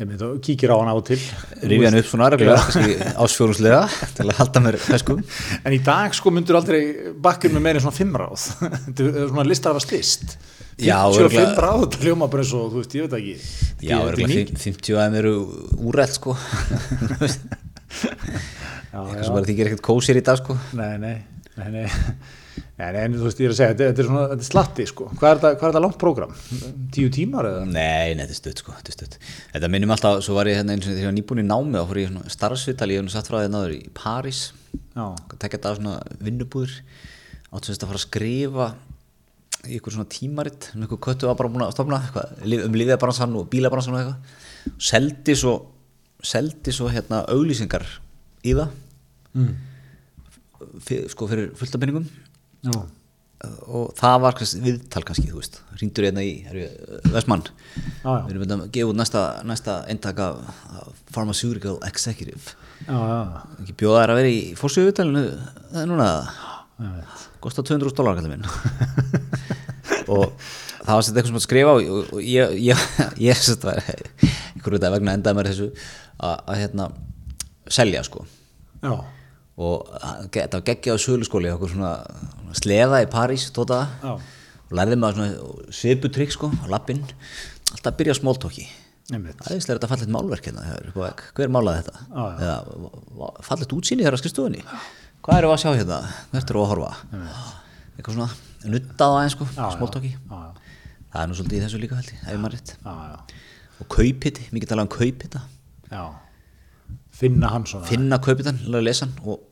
S1: einmitt og kíkir á hann á og til
S2: Rifið hann upp svona reglulega, kannski ásfjórumslega til að halda mér feskum.
S1: en í dag sko myndur aldrei bakkjur með meira en svona 5 ráð þetta er svona listar að slist
S2: Já,
S1: 55
S2: örugglega.
S1: ráð, þetta hljóma bara eins og þú veist, ég veit það ekki
S2: Já,
S1: Þetta er- þetta er
S2: örugglega
S1: mikið.
S2: 50 aðeim eru úrælt sko.
S1: Já,
S2: Eitthvað
S1: já.
S2: sem bara þykir ekkert kósir í dag sko.
S1: Nei, nei, nei, nei. Nei, nei, en þú veist, ég er að segja, þetta, þetta er svona þetta er slatti, sko. Hvað er þetta, hvað er þetta langt prógram? Tíu tímar eða?
S2: Nei, nei, þetta er stutt sko, þetta er stutt. Þetta minnum alltaf, svo var ég hérna eins og þegar ég var nýbúin í námi þá fór ég í svona starfsvitali, ég hef nú satt frá þeir náður í París,
S1: Já,
S2: tekja þetta svona vinnubúður, áttu sem þetta að fara að skrifa í ykkur svona tímarit, um ykkur köttu var bara búin að stofna, eitthvað, lif- um liðabransan og bílabransan og eitthvað, og seldi svo, seldi svo hérna auglýsingar í það,
S1: Mm.
S2: fyr, sko fyrir fullt af benningum,
S1: já,
S2: og það var kannski, viðtal kannski, þú veist ringdur hérna í, er við, Vestmann
S1: Já, já.
S2: við erum þetta að gefa út næsta, næsta eintak af af Pharmaceutical Executive
S1: já, já,
S2: ekki bjóða þær að vera í fórsöguvitalinu það er núna
S1: ég veit.
S2: kosta 200 dólar kallar minn og það var sett eitthvað sem að skrifa og, og, og ég, ég, ég sett var einhverju þetta vegna endaði mér þessu að, að hérna selja sko
S1: Já,
S2: og hann- ge- þetta var geggjað á söluskóli hjá okkur svona, svona sleða í París tóta
S1: Já.
S2: og lærði maður svona sviputrygg sko á lappinn alltaf að byrja á smóltóki
S1: einmitt.
S2: aðeinslega er þetta fallegt málverk hérna hjá þér upp á vegg. hver málaði þetta
S1: Já, já.
S2: Eða, va- va- fallegt útsýni þegar að skrifstofunni hvað erum við að sjá hérna, hvert erum við að horfa eitthvað svona nuttað aðeins sko
S1: Já, já.
S2: smóltóki
S1: Já, já,
S2: það er nú svolítið í þessu líka held ég, ef maður rétt
S1: já, já,
S2: og kaupiti, mikið talað um kaupita
S1: já. Finna hann svona.
S2: finna kaupitan, laga lesan og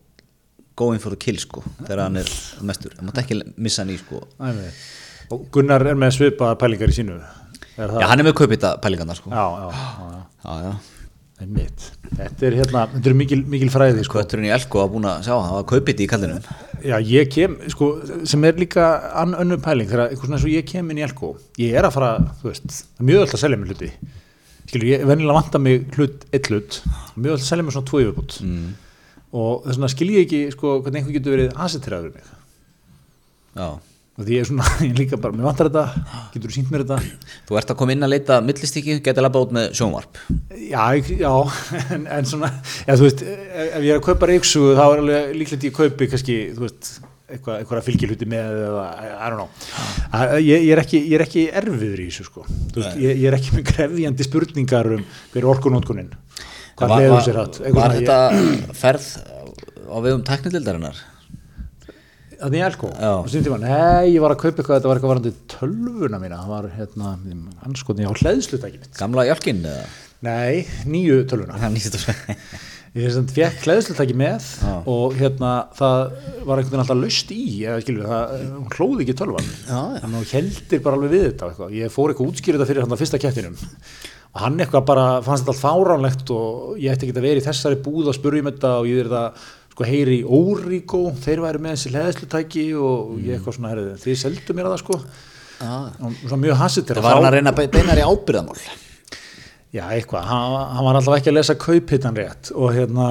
S2: go in for the kill sko þegar hann er mestur, það mátt ekki missa hann í sko
S1: Einmitt. Og Gunnar er með svipaðar pælingar í sínu. Er það?
S2: já hann er með kaupita pælingarnar sko já,
S1: Já, já, já, já.
S2: já,
S1: Einmitt. Þetta er hérna, þetta er mikil, mikil fræði, sko.
S2: kötturinn í Elko var búin að sjá, hann var kaupiti í kallinum
S1: Já, ég kem, sko, sem er líka ann önnu pæling, þegar eitthvað svona eins og ég kem inn í Elko, ég er að fara, þú veist, það er mjög öll að selja mér hluti. Skilur, ég venjulega vantar mig hlut, eitt hlut, mjög öll að selja mér svona tvo yfirbútt. Mm. Og þess vegna skil ég ekki, sko, hvernig einhver getur verið aseteraður mig.
S2: já,
S1: Og því ég er svona, ég líka bara, mér vantar þetta, getur þú sínt mér þetta?
S2: þú ert að koma inn að leita millistíki, geta labba út með sjónvarp
S1: Já, ég, já, en, en svona, já, þú veist, ef ef ég er að kaupa reyksugu, þá er alveg líklegt ég kaupi, kannski, þú veist, eitthvað, eitthvað að fylgja hluti með eða, I don't know. Að- Ég, ég, er ekki, ég er ekki erfiður í þessu, sko. Þú veist, ég, ég er ekki með krefjandi spurningar um hver er orkunótkunin, hvað
S2: Var-
S1: leður
S2: var-
S1: sér hatt.
S2: var þetta ferð á vegum teknidildarinnar
S1: Þannig ég elko,
S2: Já.
S1: og síðan tíma, nei, ég var að kaupa eitthvað, þetta var eitthvað varandi tölvuna mína, það var, hérna, anskotni á hlæðslutæki mitt.
S2: gamla jálkin eða
S1: Nei, nýju tölvuna.
S2: hann nýttur
S1: Ég sem fekk hlæðslutæki með
S2: Já.
S1: og hérna það var einhvern veginn alltaf laust í, eða skilur við, það hún hlóði ekki tölvan.
S2: Já, já.
S1: Þannig að hún heldir bara alveg við þetta og eitthvað. Ég fór eitthvað útskýrða fyrir hann að fyrsta kettinum og hann eitthvað bara fannst þetta allt fáránlegt og ég ætti ekki að vera í þessari búð að spurja um þetta og ég er það sko heyri í Órigó, þeir væri með þessi hlæðslutæki og ég eitthvað svona, herrðu, þið seldu mér það sko.
S2: það
S1: Og svona mjög hassitir.
S2: var hann að reyna að be- beina þér í ábyrðamál
S1: Já, eitthvað, hann, hann var alltaf ekki að lesa kauphitann rétt og hérna,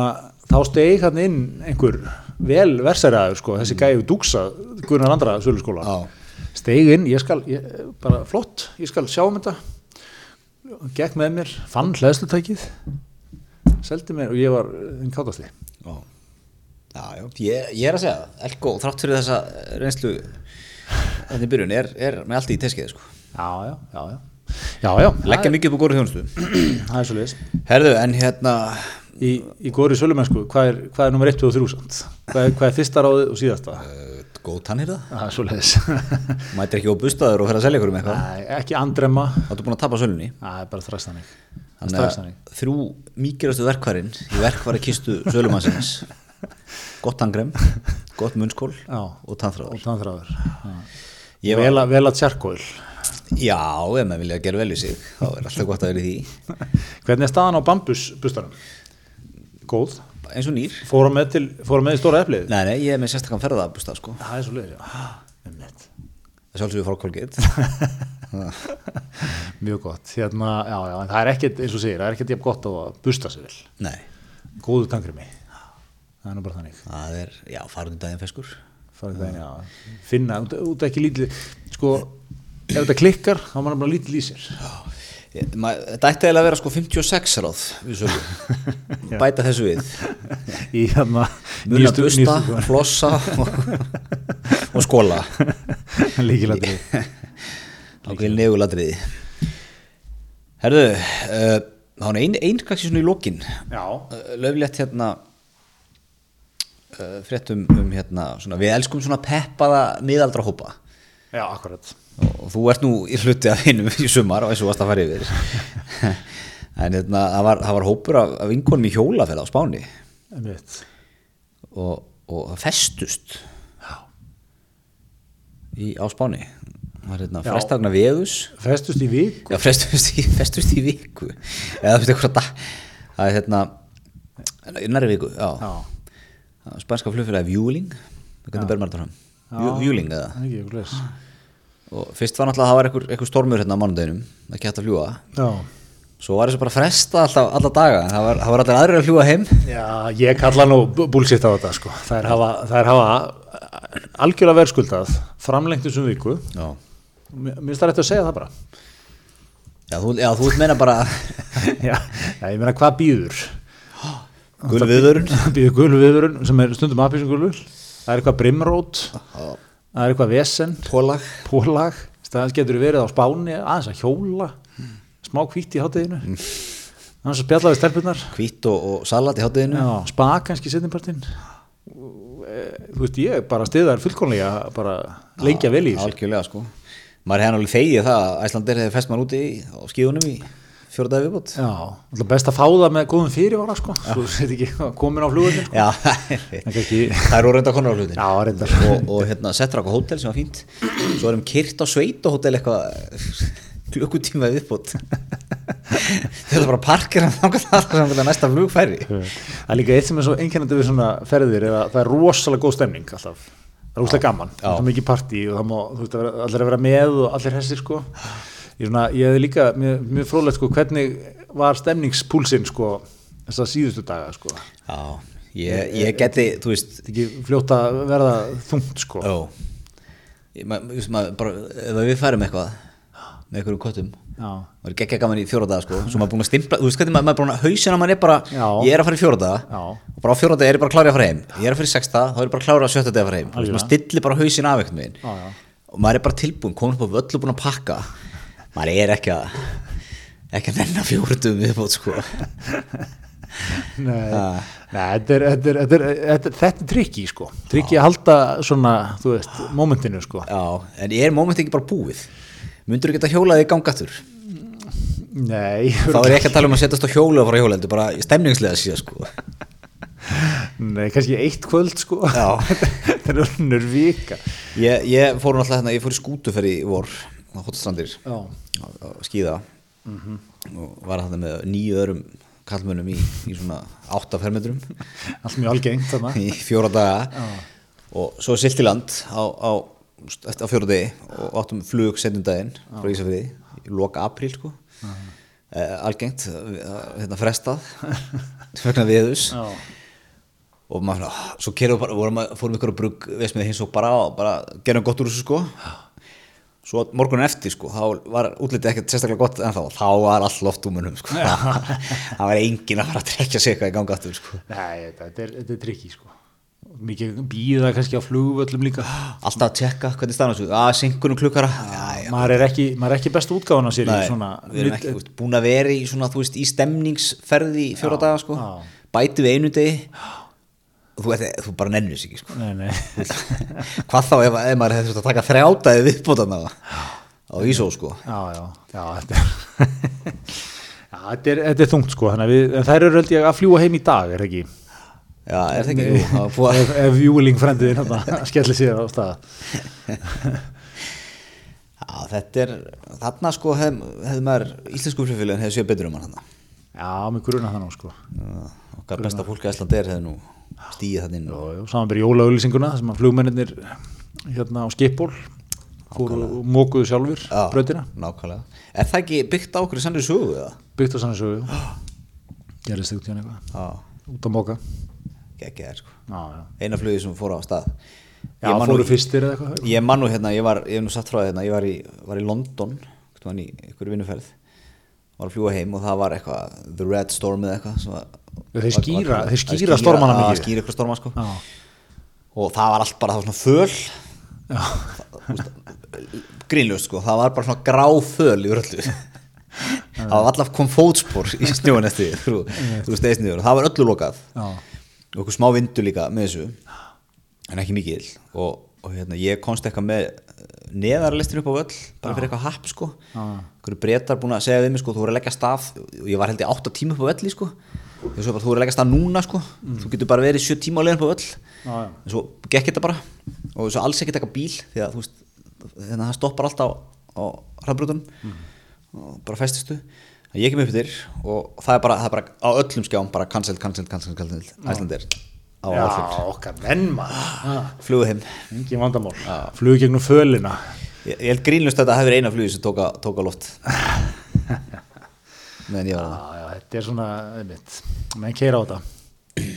S1: þá steig hann inn einhver vel versæraður, sko, þessi gæfi dúksa Gunnar Andra söluskóla.
S2: Já.
S1: Steig inn, ég skal, ég, bara flott, ég skal sjá um þetta, gekk með mér, fann hlæðslutækið, seldi mér og ég var eh, einn kátasti.
S2: Já, já, já. Ég, ég er að segja það Elko, þrátt fyrir þessa reynslu Þannig byrjun er, er með allt í teskið sko.
S1: Já, já, já, já. Já, já,
S2: Leggja mikið upp á góru þjónustu
S1: það er svo leiðis.
S2: Herðu, en hérna
S1: Í, í góri sölumennsku, hvað er, hvað er nummer 1 og 3 samt? Hvað er, hvað er fyrsta ráðið og síðasta?
S2: uh, Góð tannhýrða
S1: Það er svo leiðis.
S2: Mætir ekki á bustaður og fer að selja ykkur um eitthvað
S1: Nei, ekki andremma
S2: Þá er búin að tapa sölunni
S1: Það er bara þræstanig
S2: Þannig að þrjú mikilvægstu verkvarinn í verkvari kistu sölumannsins Gott tangrem, gott munnskól
S1: Já.
S2: og tannþráður
S1: og tannþráður
S2: Ég
S1: vel, að- vel að tjarkóil
S2: Já, ef maður vilja gera vel í sig þá er alltaf gott að vera í því
S1: Hvernig er staðan á bambusbustanum? Góð.
S2: eins og nýr
S1: Fóra með, til, fóra með í stóra eflið?
S2: Nei, nei, ég er með sérstakann ferðabústa sko
S1: Það er svo leiðir, já. Einmitt.
S2: Það sjálfsögur frá Colgate
S1: Mjög gott. Hérna, já, já, en það er ekkert, eins og segir, það er ekkert jafn gott á að busta sér vel.
S2: Nei,
S1: Góðu tangrimi. Það er nú bara þannig.
S2: það er, já, farundu daginn feskur
S1: Farið það, já. Finna, út, út ekki lítið, sko, ef þetta klikkar, þá er maður bara lítið lýsir.
S2: Ég- ma- Þetta ætti eiginlega að vera sko 56 ráð við sögum, bæta þessu við
S1: Í hérna,
S2: Muna
S1: nýjustu-
S2: busta,
S1: nýjustu-
S2: flossa og, og skóla
S1: Lykilatriði.
S2: ákveðin neguladriði Herðu uh, þá er ein, ein kannski svona í lokin
S1: Já,
S2: uh, löflétt hérna uh, fréttum um hérna svona, við elskum svona peppaða miðaldra hópa
S1: já, akkurat.
S2: og þú ert nú í hluti af hinum í sumar og eins og varst að fara yfir en hérna það var, það var hópur af, af vinkonum í hjólafélag á Spáni
S1: Einmitt.
S2: og, og það festust
S1: Já.
S2: í, á Spáni það var hérna
S1: Já.
S2: frestagna veðus
S1: Festust í vik
S2: Já, frestust í, frestust í viku eða þú veist eitthvað dag það er hérna, næri viku já,
S1: Já.
S2: já. spænska flugfélagi Vueling hvernig ber maður þetta fram Vu- Vueling eða
S1: Það er ekki, eitthvað leys.
S2: og fyrst var náttúrulega það var eitthvað, eitthvað stormur hérna á mánudeginum ekki hægt að fljúa
S1: Já.
S2: svo var þessu bara fresta alltaf, alla daga það var, það var allir aðrir að fljúa heim
S1: Já, ég kalla nú bu- bullshit á þetta sko. Það er hafa, það er hafa algjörlega verðskuldað framlengt þessum viku.
S2: já,
S1: Mér mér finnst það rétt að segja það bara.
S2: þú, já þú ert meina bara
S1: Já, já ég meina hvað býður?
S2: gul viðvörun
S1: Býður gulviðurinn sem er stundum aðpísum gulvur. Það er eitthvað brimrót, það er eitthvað vesen,
S2: tólag
S1: pólag. Það getur verið á spáni, aðeins að hjóla, smá kvítt í háteginu. Annars að spjalla við stelpunar.
S2: hvít og, og salat í hátteginu
S1: Já, spa kannski setjumpartinn. Þú veist, ég bara stiðar fullkonlega bara lengja vel í þessu.
S2: algjörlega sko maður hefði alveg þegið það að Æslandir hefði fest maður úti í- á skíðunum í fjórða viðbót
S1: Já, alltaf best að fá það með góðum fyrirvara sko, svo þetta ekki komin á sko. flugurinn sko.
S2: já,
S1: En kannski-
S2: það eru reynda konar á hlutin
S1: Já, reyndar.
S2: og, og hérna, settur okkur hótel sem var fínt svo erum kyrt á sveitahótel eitthvað klukkutíma í viðbót þetta er bara parkir að þangað það sem það næsta flug færi
S1: Það er líka eitt sem er svo einkennandi við svona ferðir er að það er rosalega góð stemning alltaf, það er úslega gaman,
S2: Já.
S1: það er mikið partí og það má, þú veist, að vera- allir að vera með og allir hessir sko. Ég, svona, ég hefði líka, mjög, mjög frólægt sko, hvernig var stemningspúlsinn sko, þess að síðustu daga sko, þetta
S2: já, ég, ég geti þú veist
S1: ekki fljótt að verða þungt sko.
S2: ó, ég, ma, ma, ma, bara, ef við færum eitthvað með einhverjum köttum
S1: Já,
S2: maður er geggja gaman í fjóra daga sko svo maður er búin að stimpla, þú veist hvernig maður, maður er búin að hausina maður er bara,
S1: Já.
S2: ég er að fara í fjóra daga
S1: Já.
S2: og bara á fjóra daga er ég bara klárið að fara heim ég er að fara í sexta, þá er ég bara klárið að sjötta daga að fara heim þú veist maður stillir bara hausin af einhvern veginn
S1: Já, já.
S2: og maður er bara tilbúin, komin upp á völl og búin að pakka maður er ekki að ekki að nenna fjóruðum viðbót sko
S1: Nei, nei þetta, er, þetta, er, þetta, er, þetta, þetta er trikki sko trikki að halda svona, þú veist, momentinu sko
S2: Já, en er móment ekki bara búið myndur þú geta hjólað í gangatur
S1: Nei,
S2: þá er ég ekki að tala um að setjast á hjólu og fara hjóla heldur bara stemningslega síðan sko
S1: nei kannski eitt kvöld sko
S2: Já.
S1: þetta er önnur vika
S2: Ég, ég fór náttúrulega hérna, ég fór í skútuferð í vor á Hotstrandir
S1: Já.
S2: að skýða og var þarna með nýju öðrum kallmönnum í, í svona átta fermetrum
S1: allt mjög algengt þarna
S2: í fjóra daga og svo silt í land á, á, eftir- á fjóra degi og áttum flug setjum daginn frá Ísafriði í loka apríl sko eh, algengt, eh, hérna frestað vegna viðus
S1: Já.
S2: og maður svona, "Ah", svo kerðum við bara, vorum að, fórum ykkur að brugg veist með hins og bara, og bara gerum gott úr þessu sko svo morgunin eftir sko, þá var útlitið ekkert sérstaklega gott en þá, þá var all loft úmunum sko, það var enginn að fara að trekja sig eitthvað í ganga aftur sko
S1: Nei, þetta, þetta er, þetta er trikki sko mikið býða kannski á flugvöllum líka
S2: alltaf að tjekka hvernig sko. stannast við, að synkunum klukkara já, já,
S1: maður er ekki, maður er ekki besta útgáfan á sér í
S2: Nei,
S1: svona
S2: við erum ekki úst, búin að vera í svona, þú veist, í stemningsferði í fjóra
S1: Já,
S2: daga sko,
S1: já.
S2: bæti við einu degi og þú, ert- þú bara nennir sig ekki sko
S1: nei, nei.
S2: hvað þá ef, ef maður hefði þurft að taka þrjátaði viðbótan á á Ísó sko
S1: Já, já, já, þetta er Já, þetta er, þetta er þungt sko þannig að við, en þær eru held ég að fljúa heim í dag er það ekki
S2: já, er það ekki, jú, það var búið
S1: ef, ef júling frendiðin hérna skellir sér á stað
S2: að- Já, þetta er, þarna sko hefði hef maður, íslensku flugfélagin hefði séð betur um hann hann.
S1: Já, mér gruna það nú sko.
S2: Okkar besta fólk að Ísland er hefði nú stíið þann inn og
S1: Samanbyrði jólauglýsinguna þar sem að flugmennir hérna á skippból fóru og mókuðu sjálfur
S2: Já,
S1: brautina.
S2: Nákvæmlega. Er það ekki byggt á okkur sannir sögu eða?
S1: Byggt á sannig sögu. Gerðist þig út í hann eitthvað.
S2: Já,
S1: Út að móka.
S2: ekki það sko.
S1: Já, já.
S2: Eina flugið sem fór á stað.
S1: Já,
S2: Ég man nú-
S1: fóru fyrstir eða eitthvað.
S2: Ég man nú hérna, ég var, ég hef nú satt frá þér hérna, ég var í, var í London, hvernig var í einhverju vinnuferð, var að fljúa heim og það var eitthvað, The Red Storm eða eitthvað. sem var-
S1: Já, þeir
S2: var-
S1: skýra-
S2: var-
S1: þeir skýra stormana
S2: Já,
S1: mikið.
S2: skýra eitthvað storma sko.
S1: Já.
S2: Og það var allt bara, það var svona föl,
S1: Já.
S2: grínlust sko, það var bara svona grá föl í öllu. það var allaf kom fótspor í snjóan eftir, því, þú, þú steist niður og það var öllu lokað
S1: Já.
S2: og okkur smá vindur líka með þessu en ekki mikill og, og hérna, ég komst eitthvað með neðarlistin upp á völl bara fyrir eitthvað happ sko okkur breytar búin að segja við mig sko þú voru að leggja stað og ég var held í 8 tíma upp á völli sko ég svo bara þú voru að leggja stað núna sko þú getur bara verið 7 tíma á leiðin upp á völl
S1: Mm. Já, já.
S2: en svo gekk þetta bara og svo alls ekki taka bíl því að þú veist þannig að það stoppar alltaf á, á hraðbrutunum
S1: Mm.
S2: og bara festistu En ég kem upp yfir og það er bara, það er bara á öllum skjám bara cancel, cancel, cancel, cancel Æslandir á
S1: Já,
S2: áflug
S1: okkar menn maður.
S2: flugu heim
S1: Engin vandamál. Flugu gegnum fölina.
S2: ég, ég held grínlust að þetta hefur eina flugu sem tóka, tóka loft meðan ég var það
S1: Já, já, þetta er svona, einmitt, menn keira á þetta.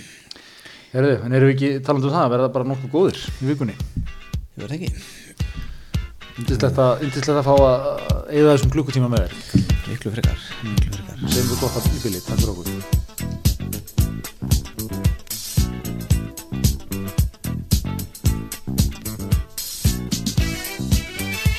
S1: Herðu, en erum við ekki talandi um það að verða bara nokkuð góðir í vikunni?
S2: ég var það ekki
S1: Yndislegt að, yndislegt að fá að eyða þessum klukkutíma með þér.
S2: miklu frekar, miklu frekar.
S1: Segjum við er gott að í bili, takk fyrir okkur.